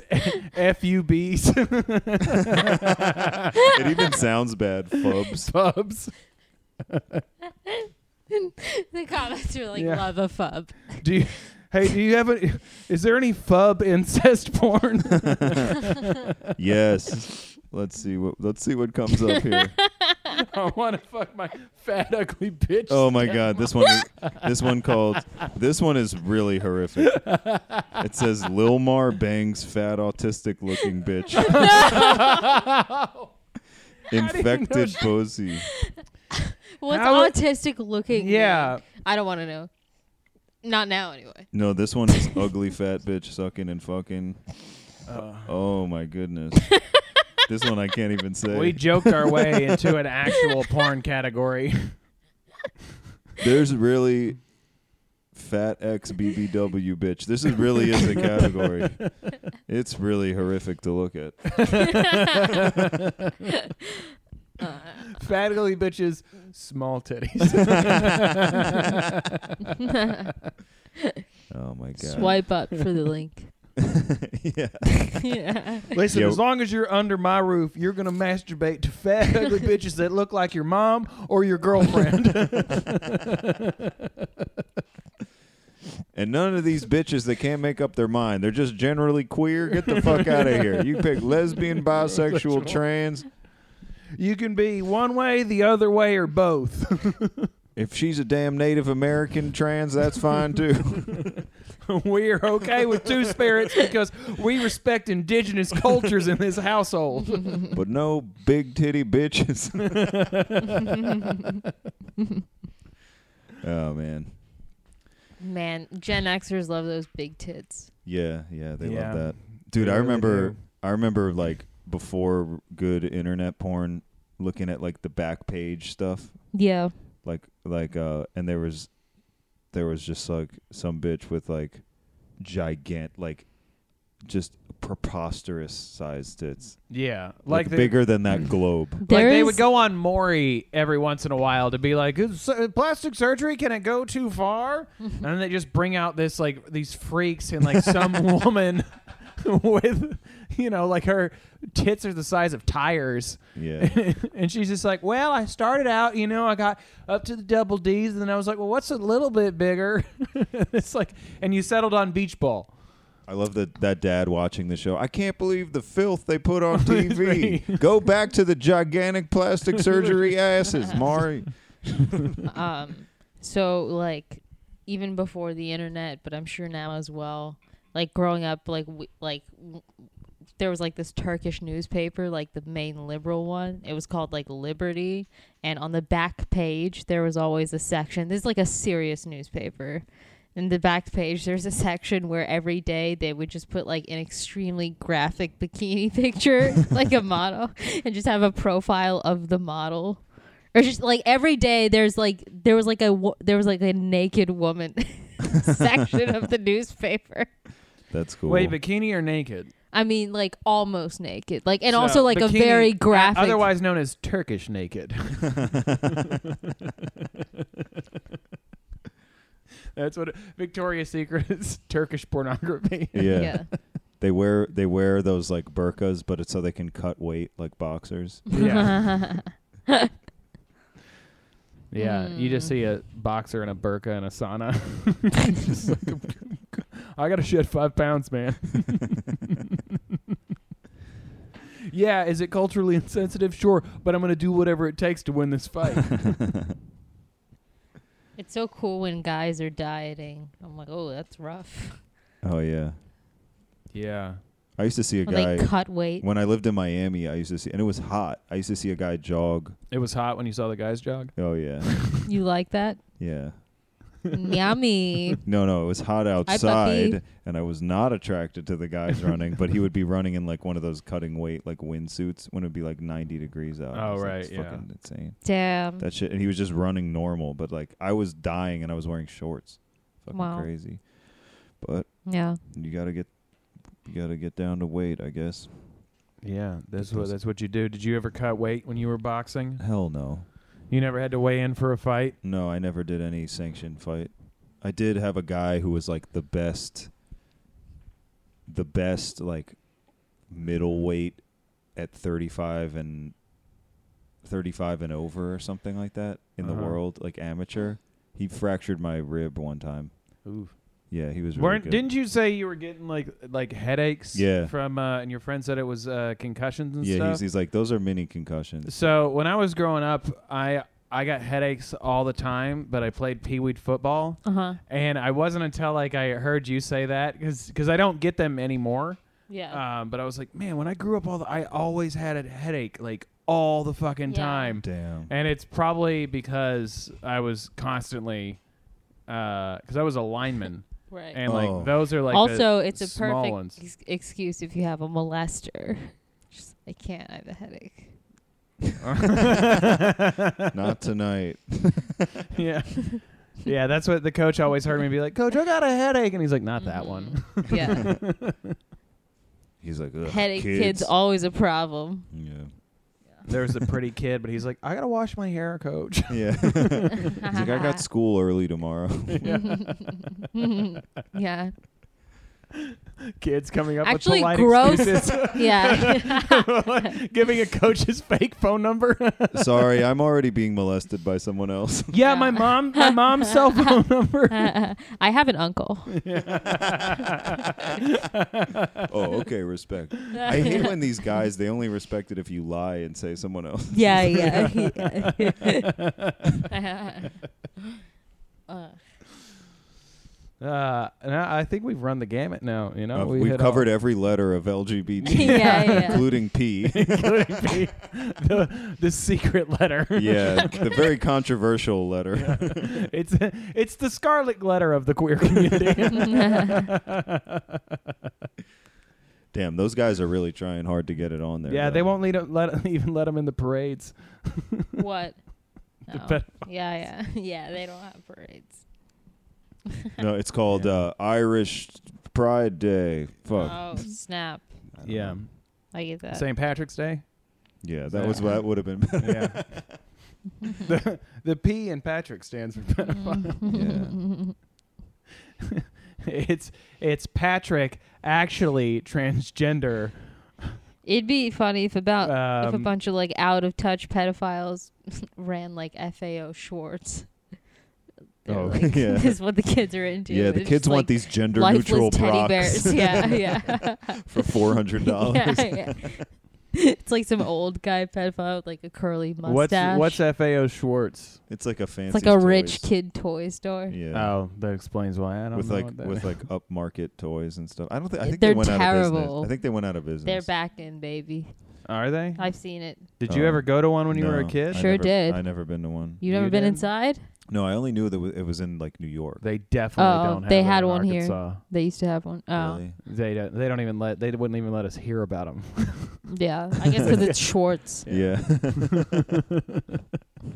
S3: f-u-b's [LAUGHS]
S4: [LAUGHS]
S5: It even sounds bad. Fubs.
S3: pubs
S4: the comments are like
S3: Yeah.
S4: love a fub.
S3: do you hey do you have a is there any fub incest porn
S5: Yes. Let's see what let's see what comes up here.
S3: [LAUGHS] I want to fuck my fat ugly bitch.
S5: Oh my god, this one this one called this one is really horrific. It says Lil Mar bangs fat autistic looking bitch. Infected pussy.
S4: What's
S3: How-
S4: autistic looking?
S3: Yeah.
S4: like? I don't want to know. Not
S3: [LAUGHS]
S4: now, anyway. [LAUGHS]
S5: No, this one is ugly fat bitch sucking and fucking. oh my goodness. this one I can't even say.
S3: We joked our way into an actual porn category.
S5: There's really fat X BBW bitch. This is really is a category. it's really horrific to look at.
S3: Fat ugly bitches, small titties.
S5: Oh my god.
S4: Swipe up for
S3: [LAUGHS]
S4: the link. [LAUGHS]
S5: [LAUGHS] yeah.
S4: yeah.
S3: Listen,
S5: Yo.
S3: as long as you're under my roof, you're gonna masturbate to fat ugly bitches that look like your mom or your girlfriend.
S5: And none of these bitches that can't make up their mind. They're just generally queer. Get the fuck out of here. You
S3: [LAUGHS]
S5: pick lesbian, bisexual, trans.
S3: you can be one way, the other way, or both.
S5: If she's a damn Native American trans, that's
S3: [LAUGHS]
S5: fine too.
S3: we are okay with two spirits because we respect indigenous cultures in this household.
S5: but no big
S3: [LAUGHS]
S5: titty bitches. [LAUGHS] oh man.
S4: Man, Gen Xers love those big tits.
S5: Yeah, yeah, they
S3: Yeah.
S5: love that. Dude,
S3: They
S5: I
S3: really
S5: remember
S3: do.
S5: I remember like before good internet porn looking at like the back page stuff
S4: Yeah.
S5: like like uh and there was there was just like some bitch with like gigant like just preposterous sized tits
S3: [LAUGHS] Yeah,
S5: like,
S3: like, the,
S5: bigger
S3: [LAUGHS]
S5: than that globe
S3: Like
S4: There
S3: they
S4: is-
S3: would go on Maury every once in a while to be like, "Is uh, plastic surgery can it go too
S4: [LAUGHS]
S3: far?" and then they just bring out this like these freaks and like some woman [LAUGHS] with you know like her tits are the size of tires
S5: yeah
S3: [LAUGHS] and she's just like well i started out you know i got up to the double d's and then i was like well what's a little bit bigger [LAUGHS] it's like and you settled on beach ball
S5: i love that that dad watching the show i can't believe the filth they
S3: [LAUGHS]
S5: put on tv go back to the gigantic plastic surgery asses mari
S4: [LAUGHS] um so like even before the internet but i'm sure now as well like growing up like we, like w- there was like this turkish newspaper like the main liberal one it was called like liberty and on the back page there was always a section this is like a serious newspaper in the back page there's a section where every day they would just put like an extremely graphic bikini [LAUGHS] picture like a model and just have a profile of the model or just like every day there's like there was like a wo- there was like a naked woman
S5: [LAUGHS]
S4: [LAUGHS] section of the newspaper
S5: that's cool
S3: wait bikini or naked
S4: i mean like almost naked like and
S3: So,
S4: also like a
S3: bikini,
S4: very graphic
S3: otherwise known as turkish naked [LAUGHS] That's what Victoria's Secret is Turkish pornography.
S5: yeah.
S4: [LAUGHS] yeah
S5: they wear they wear those like burkas but it's so they can cut weight like boxers
S3: Yeah. Yeah, you just see a boxer and a burqa and a [LAUGHS] sauna. Just like, I gotta shed five pounds, man. [LAUGHS] yeah, is it culturally insensitive? Sure, but I'm gonna do whatever it takes to win this fight. [LAUGHS]
S4: it's so cool when guys are dieting i'm like oh that's rough
S5: oh yeah
S3: yeah,
S5: i used to see a
S4: Or
S5: guy
S4: they cut weight
S5: When I lived in Miami, I used to see, and it was hot. I used to see a guy jog.
S3: it was hot when you saw the guys jog.
S5: Oh yeah,
S4: you like
S5: [LAUGHS]
S4: that
S5: yeah.
S4: yummy
S5: No, no, it was hot
S4: puppy.
S5: outside, and I was not attracted to the guys running. but he would be running in like one of those cutting weight like windsuits when it'd be like ninety degrees out. I
S3: Oh,
S5: was like,
S3: right,
S5: it's
S3: yeah.
S5: fucking insane.
S4: damn
S5: That shit, and he was just running normal, but like I was dying, and I was wearing shorts. Fucking
S4: Wow.
S5: crazy. But
S4: yeah
S5: you gotta get, you gotta get down to weight, I guess.
S3: Yeah, that's
S5: Get
S3: what
S5: those-
S3: that's what you do. Did you ever cut weight when you were boxing?
S5: Hell no.
S3: You never had to weigh in for a fight.
S5: No, I never did any sanctioned fight. I did have a guy who was like the best, the best like middleweight at 35 and 35 and over or something like that in
S3: Uh-huh.
S5: the world, like amateur. He fractured my rib one time.
S3: Ooh.
S5: Yeah, he was really
S3: Weren't
S5: good.
S3: didn't you say you were getting like like headaches?
S5: Yeah.
S3: From uh, and your friend said it was uh, concussions and
S5: yeah,
S3: stuff.
S5: he's, he's like those are mini concussions.
S3: So when I was growing up, I I got headaches all the time, but I played pee wee football,
S4: Uh huh.
S3: and I wasn't until like I heard you say that because I don't get them anymore.
S4: Yeah.
S3: Um, but I was like, man, when I grew up, all the, I always had a headache like all the fucking
S4: Yeah.
S3: time, [LAUGHS]
S5: Damn.
S3: and it's probably because I was constantly because I was a
S4: [LAUGHS]
S3: lineman,
S4: right.
S3: and
S5: Oh.
S3: like those are like the
S4: also, it's a
S3: small
S4: perfect [LAUGHS]
S3: ones. [LAUGHS]
S4: ex- excuse if you have a molester. Just, I can't. I have a
S3: [LAUGHS]
S4: headache.
S5: Not tonight.
S3: [LAUGHS] yeah. Yeah, that's what the coach always heard me be like, Coach, I got a headache. And he's like, Not that one.
S4: Yeah.
S5: He's like Ugh,
S4: headache kids. always a
S5: [LAUGHS]
S4: problem.
S5: yeah.
S3: There's the pretty kid, but he's like, I got to wash my hair, coach. [LAUGHS]
S5: Yeah. [LAUGHS] He's like, I
S4: [LAUGHS]
S5: got school early tomorrow.
S4: yeah.
S3: Kids coming up
S4: Actually,
S3: with polite
S4: gross.
S3: excuses.
S4: [LAUGHS] Yeah.
S3: [LAUGHS] Like, giving a coach his fake phone [LAUGHS] number.
S4: [LAUGHS]
S5: Sorry, I'm already being molested by someone else. [LAUGHS]
S3: yeah, my mom, my mom's cell phone [LAUGHS] number.
S4: I have an uncle.
S3: Uh,
S5: oh, okay, respect.
S4: [LAUGHS]
S5: I hate when these guys they only respect it if you lie and say someone else.
S4: Yeah, yeah.
S5: [LAUGHS]
S4: [LAUGHS] uh,
S3: Uh, and I, I think we've run the gamut now. You know,
S5: Uh,
S3: we
S5: we've
S3: hit all-
S5: covered every letter of
S3: [LAUGHS]
S5: LGBT,
S4: Yeah, yeah.
S5: including P.
S3: including me, the, the secret letter.
S5: yeah, the very controversial letter.
S3: [LAUGHS] it's it's the scarlet letter of the queer [LAUGHS] community.
S5: [LAUGHS] Damn, those guys are really trying hard to get it on there.
S3: yeah,
S5: though.
S3: they won't lead, let [LAUGHS] even let them in the parades.
S4: what?
S3: The
S4: No.
S5: [LAUGHS]
S3: ped-
S4: Yeah, yeah. [LAUGHS] Yeah, they don't have parades.
S5: No, it's called uh, Irish Pride Day. Fuck.
S4: Oh, snap.
S5: I don't
S3: Uh, yeah,
S5: know.
S4: I get that. [LAUGHS]
S3: St. Patrick's Day.
S5: Yeah, that was that would have been. better.
S3: Yeah, [LAUGHS] the the P in Patrick stands for [LAUGHS] pedophile.
S5: yeah.
S3: it's it's Patrick actually transgender.
S4: It'd be funny if about if Oh, a
S3: Um,
S4: bunch of like out of touch pedophiles [LAUGHS] ran like FAO Schwartz. They're
S5: Oh,
S4: like,
S5: [LAUGHS]
S4: [LAUGHS]
S5: yeah.
S4: This is what the kids are into.
S5: Yeah, the
S4: It's
S5: kids
S4: just,
S5: want
S4: like,
S5: these gender
S4: lifeless
S5: neutral
S4: teddy
S5: Brocks
S4: bears. [LAUGHS] Yeah, yeah.
S5: [LAUGHS] for four hundred dollars.
S4: [LAUGHS] yeah, yeah. It's like some old guy pedophile with like a curly mustache.
S3: What's what's FAO Schwartz?
S5: It's like a
S4: It's
S5: fancy.
S4: like a rich
S5: toys.
S4: kid toy store.
S5: Yeah.
S3: Oh, that explains why I don't
S5: with
S3: know
S5: like
S3: what that
S5: with
S3: is. [LAUGHS]
S5: like upmarket toys and stuff. I don't think I think
S4: They're
S5: they went out of
S4: terrible.
S5: business. I think they went out of business.
S4: They're back in, baby.
S3: Are they?
S4: I've seen it.
S3: Did you
S5: Oh.
S3: ever go to one when you were a
S5: No,
S3: kid?
S5: I
S4: Sure
S5: never-
S4: did.
S5: I never been to one.
S4: You
S3: You
S4: never been
S3: didn't?
S4: inside?
S5: No, I only knew that it was in like New York.
S3: They definitely
S4: Oh,
S3: don't. Have
S4: they
S3: that
S4: had
S3: in
S4: one here.
S3: Arkansas.
S4: They used to have one. Oh,
S5: Really?
S3: They don't. They don't even let. They wouldn't even let us hear about
S4: [LAUGHS]
S3: them.
S4: yeah. I guess because
S5: [LAUGHS]
S4: it's Schwartz. [LAUGHS]
S5: Yeah. [LAUGHS]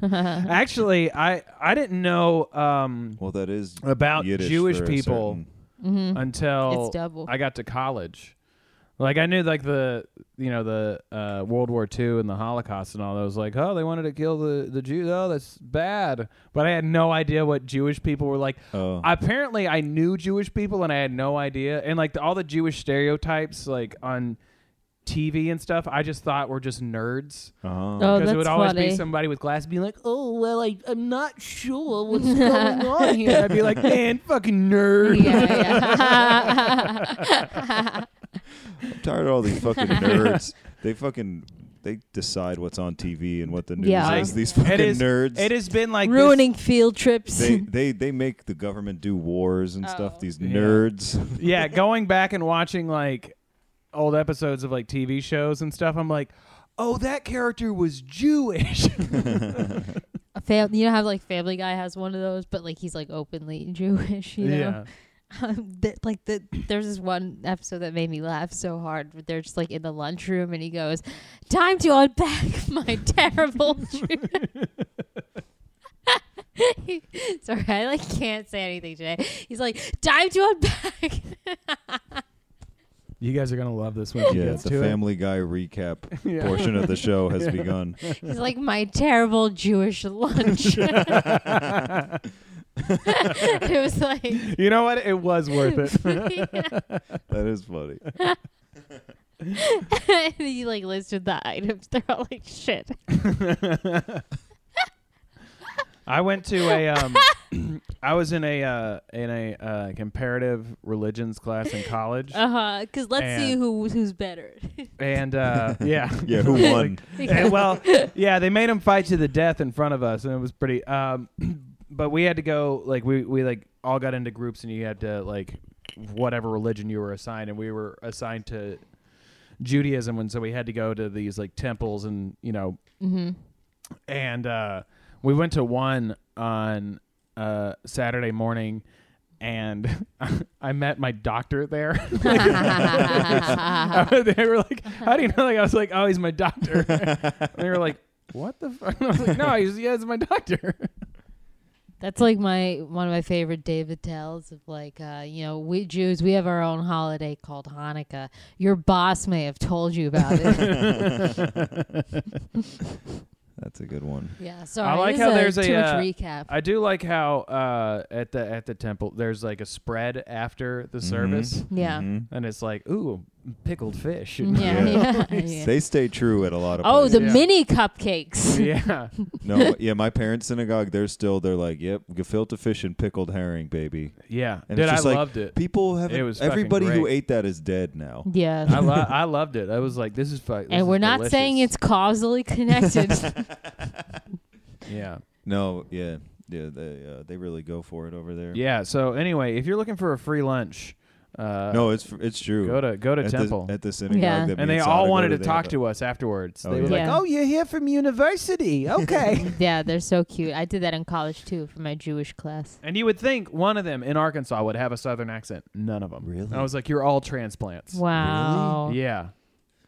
S3: Actually, I I didn't know um,
S5: well, that is
S3: about
S5: Yiddish
S3: Jewish
S5: for a
S3: people
S4: Mm-hmm.
S3: until
S4: it's double.
S3: I got to college. Like I knew like the you know the uh, World War II and the Holocaust and all that was like oh they wanted to kill the the Jews oh that's bad but I had no idea what Jewish people were like
S5: certain- Oh.
S3: apparently I knew Jewish people and I had no idea. And like the, all the Jewish stereotypes like on TV and stuff, I just thought were just nerds.
S5: uh-huh.
S4: Oh,
S3: Because it would
S4: that's
S3: always
S4: funny.
S3: be somebody with glasses being like, "Oh well, I, I'm not sure what's going
S4: [LAUGHS]
S3: on here." I'd be like, "Man, fucking nerd."
S4: yeah, yeah.
S5: I'm tired of all
S4: [LAUGHS]
S5: these fucking nerds. They fucking they decide what's on TV and what the news
S4: Yeah.
S5: is.
S4: Like,
S5: These fucking
S3: it is.
S5: nerds.
S3: It has been like this-
S4: Ruining field trips. [LAUGHS]
S5: They, they they make the government do wars and stuff.
S4: Oh.
S5: These
S3: Yeah.
S5: nerds.
S3: [LAUGHS] [LAUGHS] yeah, going back and watching like old episodes of like TV shows and stuff, I'm like, "Oh, that character was Jewish."
S4: A fam- you know how like Family Guy has one of those, but like he's like openly [LAUGHS] Jewish. [LAUGHS] You know, [LAUGHS] um, that like the there's this one episode that made me laugh so hard. But they're just like in the lunchroom, and he goes, "Time to unpack [LAUGHS] my terrible." [LAUGHS] Jew-" Sorry, I like can't say anything today. He's like, "Time to unpack." [LAUGHS]
S3: You guys are gonna love this when she
S5: yeah,
S3: gets
S5: the
S3: to it.
S5: Family Guy recap
S3: [LAUGHS] Yeah.
S5: portion of the show
S3: [LAUGHS]
S5: has begun.
S4: He's like, "My terrible Jewish lunch." [LAUGHS] it was like.
S3: [LAUGHS]
S4: [LAUGHS]
S3: You know what? It was worth it.
S5: That is
S3: [LAUGHS]
S5: funny.
S4: and he like listed the items. [LAUGHS] They're all like shit.
S3: I went to a um [CLEARS THROAT] I was in a uh, in a uh, comparative religions class in
S4: [LAUGHS]
S3: college,
S4: Uh huh. Because let's see
S3: And-
S4: who who's better.
S3: and
S5: [LAUGHS]
S3: uh, yeah,
S5: Yeah, who
S3: Like,
S5: won?
S3: [LAUGHS] and, well, yeah, they made him fight to the death in front of us, and it was pretty. Um, [CLEARS THROAT] but we had to go like we we like all got into groups, and you had to like whatever religion you were assigned, and we were assigned to Judaism, and so we had to go to these like temples, and you know,
S4: Mm-hmm.
S3: and uh, we went to one on uh, Saturday morning. And [LAUGHS] I met my doctor there. [LAUGHS]
S4: Uh-huh.
S3: they were like, "How do you know?" Like I was like, "Oh, he's my [LAUGHS] doctor." And they were like, "What the fuck?" [LAUGHS] I was like, "No, he's yeah, he's my doctor."
S4: [LAUGHS]
S3: [LAUGHS]
S4: That's like my one of my favorite David tells of like uh, you know we Jews we have our own holiday called Hanukkah. Your boss may have told you about it.
S3: [LAUGHS]
S5: That's a good one.
S4: yeah, sorry.
S3: like
S4: this
S3: how
S4: is
S3: there's a,
S4: too much
S3: uh,
S4: recap.
S3: I do like how uh, at the at the temple there's like a spread after the service,
S4: yeah.
S5: Mhm.
S3: and it's like, "Ooh, pickled fish."
S4: [LAUGHS] Yeah.
S5: Yeah.
S4: yeah. yeah.
S5: They stay true at a lot of
S4: Oh, the
S5: places.
S3: Yeah.
S4: mini
S3: [LAUGHS]
S4: cupcakes.
S3: yeah.
S4: [LAUGHS]
S5: no, yeah, my parents' synagogue, they're still they're like, yep, gefilte fish and pickled herring, baby.
S3: Yeah.
S5: And
S3: Dude,
S5: it's
S3: I
S5: just like,
S3: loved it.
S5: People have
S3: It was fucking
S5: everybody who
S3: great.
S5: ate that is dead now.
S4: Yeah.
S3: I, lo- I loved it. I was like, "This is fuck." this is
S4: and we're not
S3: delicious.
S4: saying it's causally connected. [LAUGHS]
S3: yeah.
S5: No, yeah, yeah, they uh, they really go for it over there.
S3: Yeah. So anyway, if you're looking for a free lunch, uh,
S5: no, it's it's true.
S3: go to go to
S5: at
S3: temple.
S5: the, at the synagogue,
S4: Yeah.
S5: that
S3: and
S5: me
S3: they
S5: Sada
S3: all
S5: go
S3: wanted to
S5: they
S3: talk
S5: have a-
S3: to us afterwards.
S5: Oh,
S3: they were
S5: yeah.
S3: like,
S4: Yeah.
S3: "Oh, you're here from
S5: [LAUGHS]
S3: university, okay."
S4: yeah, they're so cute. I did that in college too for my Jewish class.
S3: and you would think one of them in Arkansas would have a Southern accent. None of them.
S5: Really?
S3: I was like, "You're all transplants."
S4: Wow.
S3: Yeah.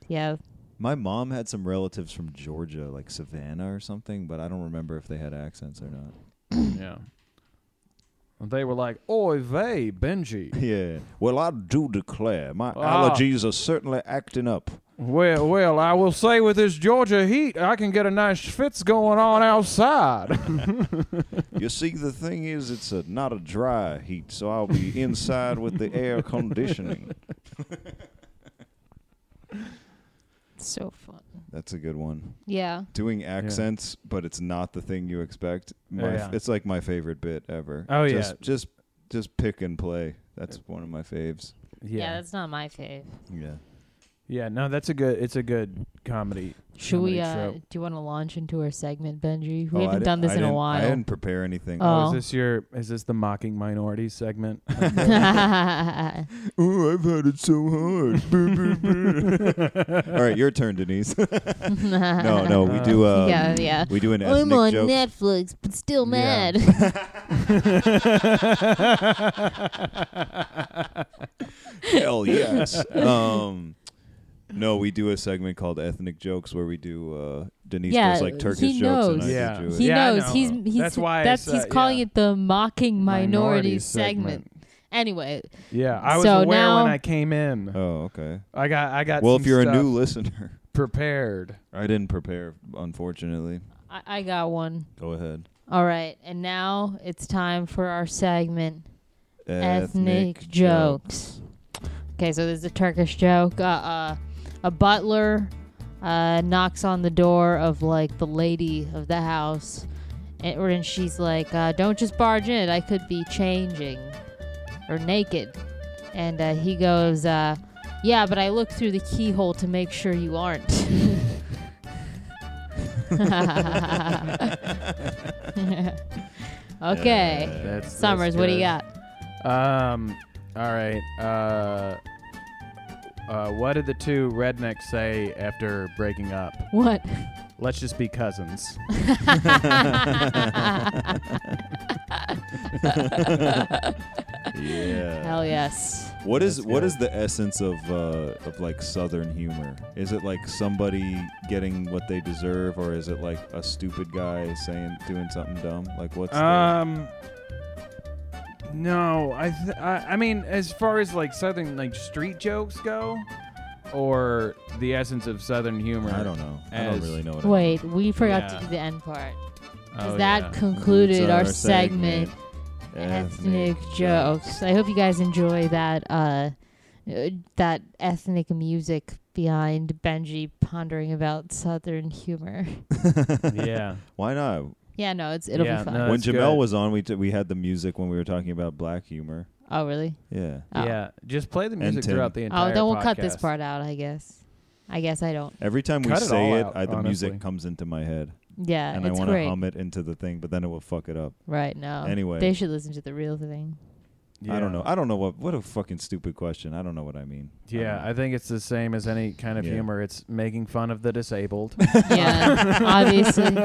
S4: Yeah.
S5: [LAUGHS] My mom had some relatives from Georgia, like Savannah or something, but I don't remember if they had accents or not.
S3: yeah. And they were like, "Oy vey, [LAUGHS] Benji,
S5: Yeah. Well, I do declare, my
S3: Ah.
S5: allergies are certainly acting up.
S3: well, well, I will say with this Georgia heat, I can get a nice fits going on outside." [LAUGHS]
S5: You see, the thing is, it's a, not a dry heat, so I'll
S3: [LAUGHS]
S5: be inside with the air conditioning.
S4: So fun.
S5: That's a good one.
S4: Yeah.
S5: Doing accents, but it's not the thing you expect. My,
S3: Oh, Yeah.
S5: It's like my favorite bit ever.
S3: Oh, yeah.
S5: just, Just, just pick and play. That's one of my faves.
S4: yeah. that's not my fave.
S5: Yeah.
S3: Yeah, no, that's a good. It's a good comedy.
S4: Should
S3: comedy
S4: we? Uh,
S3: trope.
S4: do you want to launch into our segment, Benji? We
S5: Oh, I
S4: haven't
S5: di-
S4: done this
S5: I
S4: in a
S5: didn't- I
S4: while. [LAUGHS]
S5: didn't prepare anything.
S4: Oh.
S3: Oh, is this your? Is this the mocking minority segment?
S5: Oh, I've had it so
S3: [LAUGHS]
S5: hard. Brr, brr, brr. All right, your turn, Denise. [LAUGHS] no, no, we do. Uh,
S4: [LAUGHS] yeah, yeah.
S5: we do an
S4: [LAUGHS] I'm
S5: ethnic
S4: on
S5: joke.
S4: Netflix, but still
S3: Yeah.
S4: mad. [LAUGHS]
S5: Hell yes.
S4: [LAUGHS]
S5: um, no, we do a segment called ethnic jokes where we do uh, Denise
S4: Yeah,
S5: does like Turkish
S4: he
S5: jokes and
S4: knows.
S5: I do
S3: Yeah.
S5: Jewish.
S4: He
S3: Yeah, I
S4: knows
S3: know.
S4: he's he's
S3: That's why I
S4: that's
S3: said-
S4: he's calling
S3: yeah.
S4: it the mocking minority, segment. Anyway,
S3: Yeah, I was
S4: So
S3: aware
S4: now-
S3: when I came in.
S5: Oh, okay.
S3: I got I got.
S5: well,
S3: some
S5: if you're a
S3: stuff
S5: new listener, [LAUGHS]
S3: prepared,
S5: I didn't prepare, unfortunately.
S4: I, I got one.
S5: Go ahead.
S4: All right, and now it's time for our segment
S5: Ethnic,
S4: ethnic jokes. Okay, so there's a Turkish joke. Uh, uh, a butler uh, knocks on the door of like the lady of the house, and, or- and she's like, uh, "Don't just barge in. I could be changing or naked." And uh, he goes, uh, "Yeah, but I looked through the keyhole to make sure you aren't." [LAUGHS] [LAUGHS] okay. [LAUGHS]
S3: That's-
S4: Summers,
S3: that's
S4: what do you
S3: good.
S4: got?
S3: Um, all right. Uh, uh, what did the two rednecks say after breaking up? [LAUGHS]
S4: What?
S3: Let's just be cousins.
S5: [LAUGHS] Yeah.
S4: Hell yes.
S5: What is
S3: That's
S5: what
S3: good.
S5: is the essence of uh, of like Southern humor? Is it like somebody getting what they deserve, or is it like a stupid guy saying doing something dumb? Like what's
S3: Um. No, I, th- I I mean, as far as like southern like street jokes go, or the essence of southern humor.
S5: the, I don't know. I don't
S3: as-
S5: really know. What
S4: Wait, we forgot
S3: Yeah.
S4: to do the end part. Because
S3: Oh,
S4: that
S3: yeah.
S4: concluded
S5: Concludes
S4: our,
S5: our
S4: segment,
S5: segment,
S4: ethnic,
S5: Ethnic
S4: jokes. I hope you guys enjoy that uh, uh, that ethnic music
S5: [LAUGHS]
S4: behind Benji pondering about Southern humor. [LAUGHS]
S3: yeah.
S5: Why not?
S4: Yeah, no, it's it'll
S3: Yeah,
S4: be fun.
S3: no.
S5: when
S3: That's
S5: Jamel
S3: good.
S5: was on, we t- we had the music when we were talking about black humor.
S4: Oh, really?
S5: Yeah,
S4: Oh.
S3: Yeah, just play the music
S5: Tim.
S3: throughout the
S4: Oh,
S3: entire.
S4: then we'll cut this
S3: podcast.
S4: part out, I guess. I guess I don't.
S5: every time we
S3: Cut it
S5: say
S3: all
S5: it,
S3: out,
S5: I, the music
S3: honestly.
S5: comes into my head,
S4: Yeah,
S5: and I
S4: Uh, it's
S5: want to
S4: great.
S5: hum it into the thing, but then it will fuck it up.
S4: Right? No.
S5: Anyway.
S4: they should listen to the real
S5: [LAUGHS]
S4: thing.
S5: I don't
S3: Yeah.
S5: know. I don't know what what a fucking stupid question. I don't know what I mean. I don't
S3: Yeah,
S5: know.
S3: I think it's the same as any kind of
S5: Yeah.
S3: humor. It's making fun of the disabled.
S4: Yeah,
S5: [LAUGHS]
S4: obviously.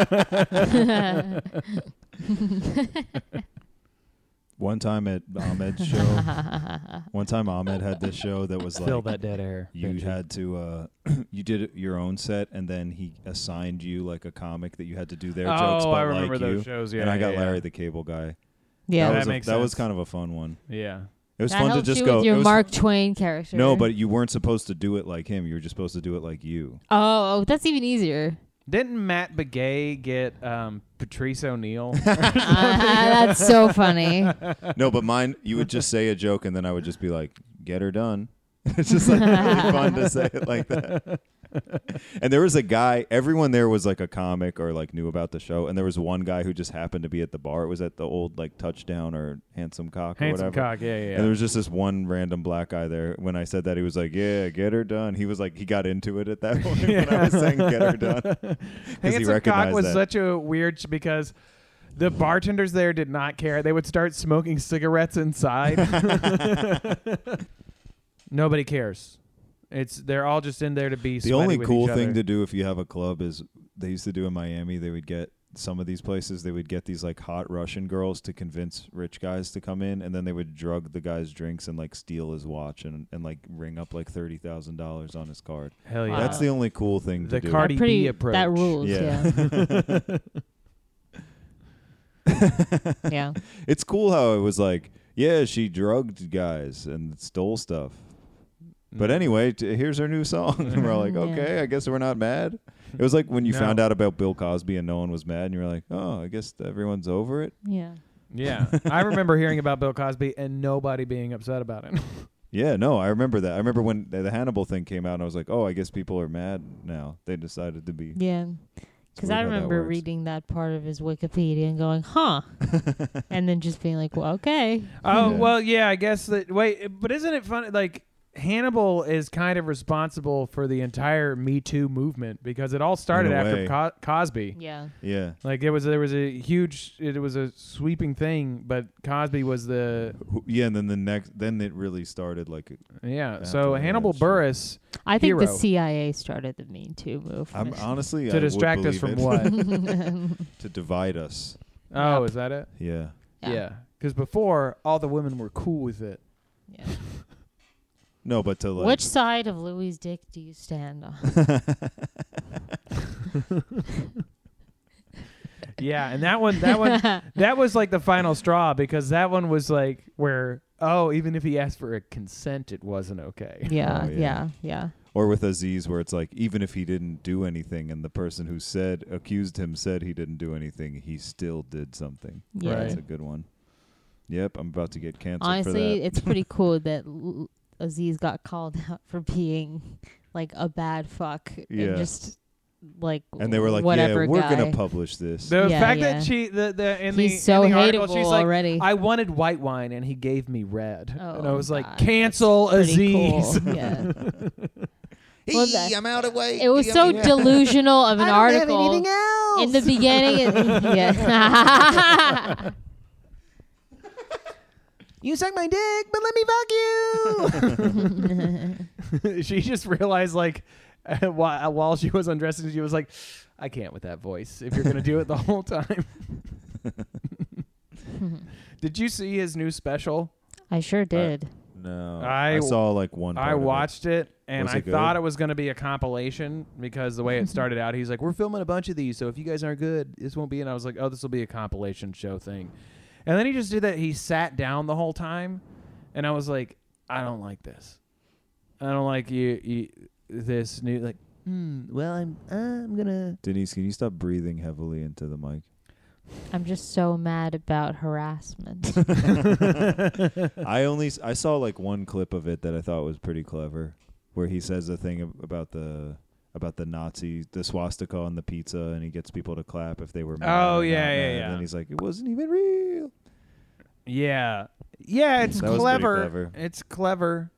S4: [LAUGHS]
S5: one time at
S4: [LAUGHS]
S5: Ahmed's show, one time Ahmed had this show that was
S3: Fill
S5: like
S3: that dead air.
S5: you
S3: Benji.
S5: had to uh, [CLEARS THROAT] you did your own set, and then he assigned you like a comic that you had to do their jokes,
S3: oh,
S5: but
S3: I remember
S5: like
S3: those
S5: you.
S3: shows. Yeah,
S5: and I got
S3: yeah,
S5: Larry the Cable Guy.
S4: yeah,
S5: that,
S3: That
S5: was a-
S3: makes
S5: that was
S3: sense.
S5: kind of a fun one.
S3: Yeah,
S5: It was
S4: that
S5: fun to
S4: helped
S5: just
S4: you
S5: go.
S4: with your
S5: it was-
S4: Mark Twain character.
S5: No, but you weren't supposed to do it like him. You were just supposed to do it like you.
S4: oh, oh, that's even
S5: [LAUGHS]
S4: easier. [LAUGHS]
S3: didn't Matt Begay get um, Patrice O'Neill?
S4: Ah, that's so funny.
S5: no, but mine, you would just say a joke, and then I would just be like, "Get her done." [LAUGHS] it's just like really fun to say it like that. and there was a guy. Everyone there was like a comic or like knew about the show, and there was one guy who just happened to be at the bar. It was at the old like touchdown or handsome cock or
S3: Handsome
S5: whatever.
S3: cock. Yeah, yeah.
S5: And there was just this one random black guy there. When I said that, he was like, "Yeah, get her done." He was like, he got into it at that [LAUGHS] point when I was saying, "Get
S3: [LAUGHS]
S5: her done." he
S3: Handsome cock
S5: recognized
S3: was
S5: that.
S3: such a weird sh- because the bartenders there did not care. They would start smoking cigarettes
S5: [LAUGHS]
S3: inside. Nobody cares. It's they're all just in there to be.
S5: The
S3: sweaty
S5: only
S3: with
S5: cool
S3: each
S5: thing
S3: other.
S5: to do if you have a club is they used to do in Miami. They would get some of these places. They would get these like hot Russian girls to convince rich guys to come in, and then they would drug the guy's drinks and like steal his watch and and like ring up like thirty thousand dollars on his card.
S3: Hell yeah.
S4: Wow.
S5: That's the only cool thing to
S3: The
S5: do.
S3: Cardi
S4: That pretty,
S3: B approach.
S4: That rules. Yeah.
S5: Yeah.
S4: Yeah.
S5: [LAUGHS] [LAUGHS] It's cool how it was like, yeah, she drugged guys and stole stuff.
S3: Mm.
S5: But anyway, t- here's her new song. [LAUGHS] and
S3: [LAUGHS]
S5: we're like,
S4: Yeah.
S5: okay, I guess we're not mad. It was like when you
S3: No.
S5: found out about Bill Cosby and no one was mad, and you were like, oh, I guess everyone's over it.
S4: Yeah.
S5: [LAUGHS]
S3: Yeah, I remember hearing about Bill Cosby and nobody being upset about
S5: [LAUGHS]
S3: it.
S5: Yeah, no, I remember that. I remember when the the Hannibal thing came out, and I was like, oh, I guess people are mad now. They decided to be.
S4: Yeah.
S5: It's
S4: Because
S5: weird
S4: I
S5: how that
S4: remember
S5: works.
S4: reading that part of his Wikipedia and going,
S5: [LAUGHS]
S4: huh. and then just being like, well, okay.
S3: Oh
S5: Yeah.
S3: well, yeah. I guess that. Wait, but isn't it funny? Like Hannibal is kind of responsible for the entire Me Too movement because it all started
S5: In a
S3: after
S5: way.
S3: Co- Cosby.
S4: Yeah.
S5: Yeah.
S3: Like it was there was a huge it was a sweeping thing, but Cosby was the
S5: Who- Yeah, and then the next, then it really started like,
S3: yeah.
S5: After
S3: so
S5: that,
S3: Hannibal
S5: sure.
S3: Burris
S4: I think the
S3: Hero.
S4: CIA started the Me Too movement.
S3: [LAUGHS]
S5: I'm
S4: [LAUGHS]
S5: honestly. I
S3: to
S5: would
S3: distract us
S5: believe
S3: from
S5: it. [LAUGHS]
S3: what?
S5: to divide us.
S3: oh, is that it?
S5: Yeah.
S4: Yeah.
S3: Because before all the women were cool with
S4: [LAUGHS]
S3: it.
S4: Yeah.
S5: No, but to [LAUGHS] like. Oh,
S4: Which side of Louis' dick do you stand
S5: [LAUGHS]
S4: on?
S3: Yeah, and that one that one
S4: [LAUGHS]
S3: that was like the final straw because that one was like where oh even if he asked for a consent it wasn't okay.
S4: yeah,
S5: Oh, yeah.
S4: yeah, yeah.
S5: or with Aziz, where it's like even if he didn't do anything, and the person who said accused him said he didn't do anything, he still did something.
S4: Yeah.
S5: That's a good one. Yep, I'm about to get canceled
S4: Honestly,
S5: for
S4: it's
S5: [LAUGHS]
S4: pretty cool that L- Aziz got called [LAUGHS] out for being like a bad fuck
S5: Yeah.
S4: and just like
S5: that. And they were like,
S4: whatever
S5: "Yeah, we're
S4: guy.
S5: gonna publish this."
S3: The
S4: Yeah,
S3: fact
S4: yeah.
S3: that she the, the in
S4: He's
S3: the
S4: so
S3: in the
S4: hateable
S3: article she's like
S4: already.
S3: I wanted white wine and he gave me red.
S4: Oh,
S3: and I was like
S4: God.
S3: cancel
S4: Pretty
S3: Aziz.
S4: Cool. [LAUGHS]
S5: [LAUGHS]
S4: Yeah. Well, that-
S5: I'm out of way.
S4: It was so delusional [LAUGHS] of an article in the beginning. [LAUGHS] It, [LAUGHS] yeah.
S3: You suck my dick, but let me fuck you. [LAUGHS] she just realized, like, [LAUGHS] while, while she was undressing, she was like, I can't with that voice if you're going to do it the whole time. [LAUGHS] Did you see his new special?
S4: I sure did.
S5: No,
S3: I-
S5: I, saw like one.
S3: I
S5: part of it.
S3: watched it, and
S5: Was
S3: I
S5: it good?
S3: thought it was going to be a compilation because the way it started out, he's like, "We're filming a bunch of these, so if you guys aren't good, this won't be." And I was like, "Oh, this will be a compilation show thing," and then he just did that. He sat down the whole time, and I was like, "I don't like this. I don't like you. you this new like." Hmm, well, I'm uh, I'm gonna.
S5: Denise, can you stop breathing heavily into the mic?
S4: I'm just so mad about harassment.
S5: I only s- I saw like one clip of it that I thought was pretty clever, where he says the thing ab- about the about the Nazi, the swastika on the pizza, and he gets people to clap if they were. Mad
S3: Oh,
S5: or not
S3: yeah, yeah,
S5: mad,
S3: yeah.
S5: And he's like, it wasn't even real.
S3: Yeah. Yeah, it's
S5: That was pretty
S3: clever.
S5: clever.
S3: It's clever.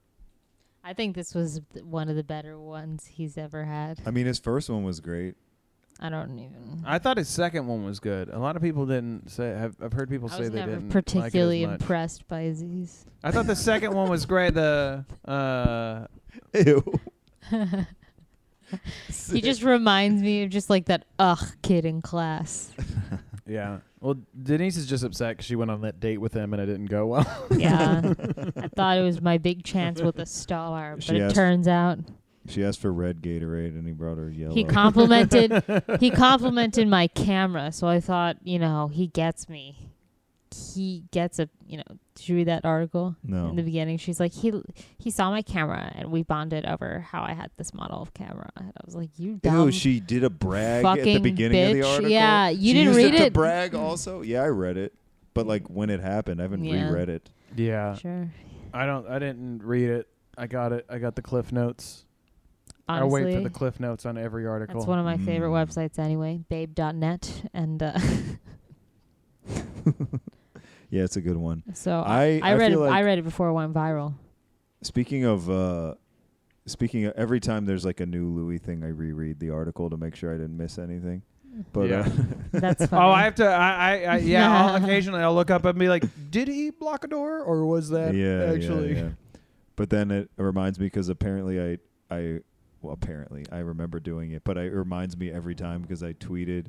S4: I think this was th- one of the better ones he's ever had.
S5: I mean, his first one was great.
S4: I don't even.
S3: I thought his second one was good. A lot of people didn't say. Have, I've heard people
S4: I
S3: say
S4: was
S3: they
S4: never
S3: didn't like
S4: particularly
S3: it as much.
S4: impressed
S3: [LAUGHS]
S4: by Aziz.
S3: I thought the second one was great. The uh,
S5: Ew.
S4: He just reminds me of just like that ugh kid in class.
S3: yeah. Well, Denise is just upset 'cause she went on that date with him and it didn't go well.
S4: [LAUGHS]
S3: [LAUGHS]
S4: Yeah. I thought it was my big chance with
S3: [LAUGHS]
S4: a star, but
S5: She
S4: it
S5: asked-
S4: turns out
S5: She asked for red Gatorade, and he brought her yellow.
S4: he
S3: [LAUGHS]
S4: complimented he complimented my camera, so I thought, you know, he gets me. He gets a, you know, did you read that article?
S5: no.
S4: in the beginning she's like he he saw my camera and we bonded over how i had this model of camera and i was like you dumb
S5: Ew, she did a brag at the
S4: fucking
S5: beginning of the
S4: bitch.
S5: article.
S4: Yeah, you
S5: She
S4: didn't
S5: used
S4: read
S5: it, to
S4: it?
S5: brag also. Yeah, I read it, but like when it happened, I haven't
S4: Yeah.
S5: reread it.
S3: yeah.
S4: sure
S3: I don't. I didn't read it. I got it. I got the cliff notes.
S4: honestly
S3: I wait for the cliff notes on every article.
S4: that's one of my favorite
S5: Mm.
S4: websites anyway babe.net and uh, [LAUGHS]
S5: Yeah, it's a good one.
S4: so
S5: I-
S4: i
S5: I
S4: read it
S5: feel like-
S4: i read it before it went viral
S5: Speaking of, uh speaking of, every time there's like a new Louis thing, I reread the article to make sure I didn't miss anything. But
S3: Yeah.
S5: [LAUGHS] uh,
S4: that's funny.
S3: Oh, I have to. I,
S4: [LAUGHS]
S3: I, I yeah. I'll occasionally, I'll look up and be like, "Did he block a door, or was that
S5: yeah,
S3: actually?" [LAUGHS]
S5: yeah, yeah. But then it reminds me because apparently I, I, well, apparently I remember doing it, but I, it reminds me every time because I tweeted,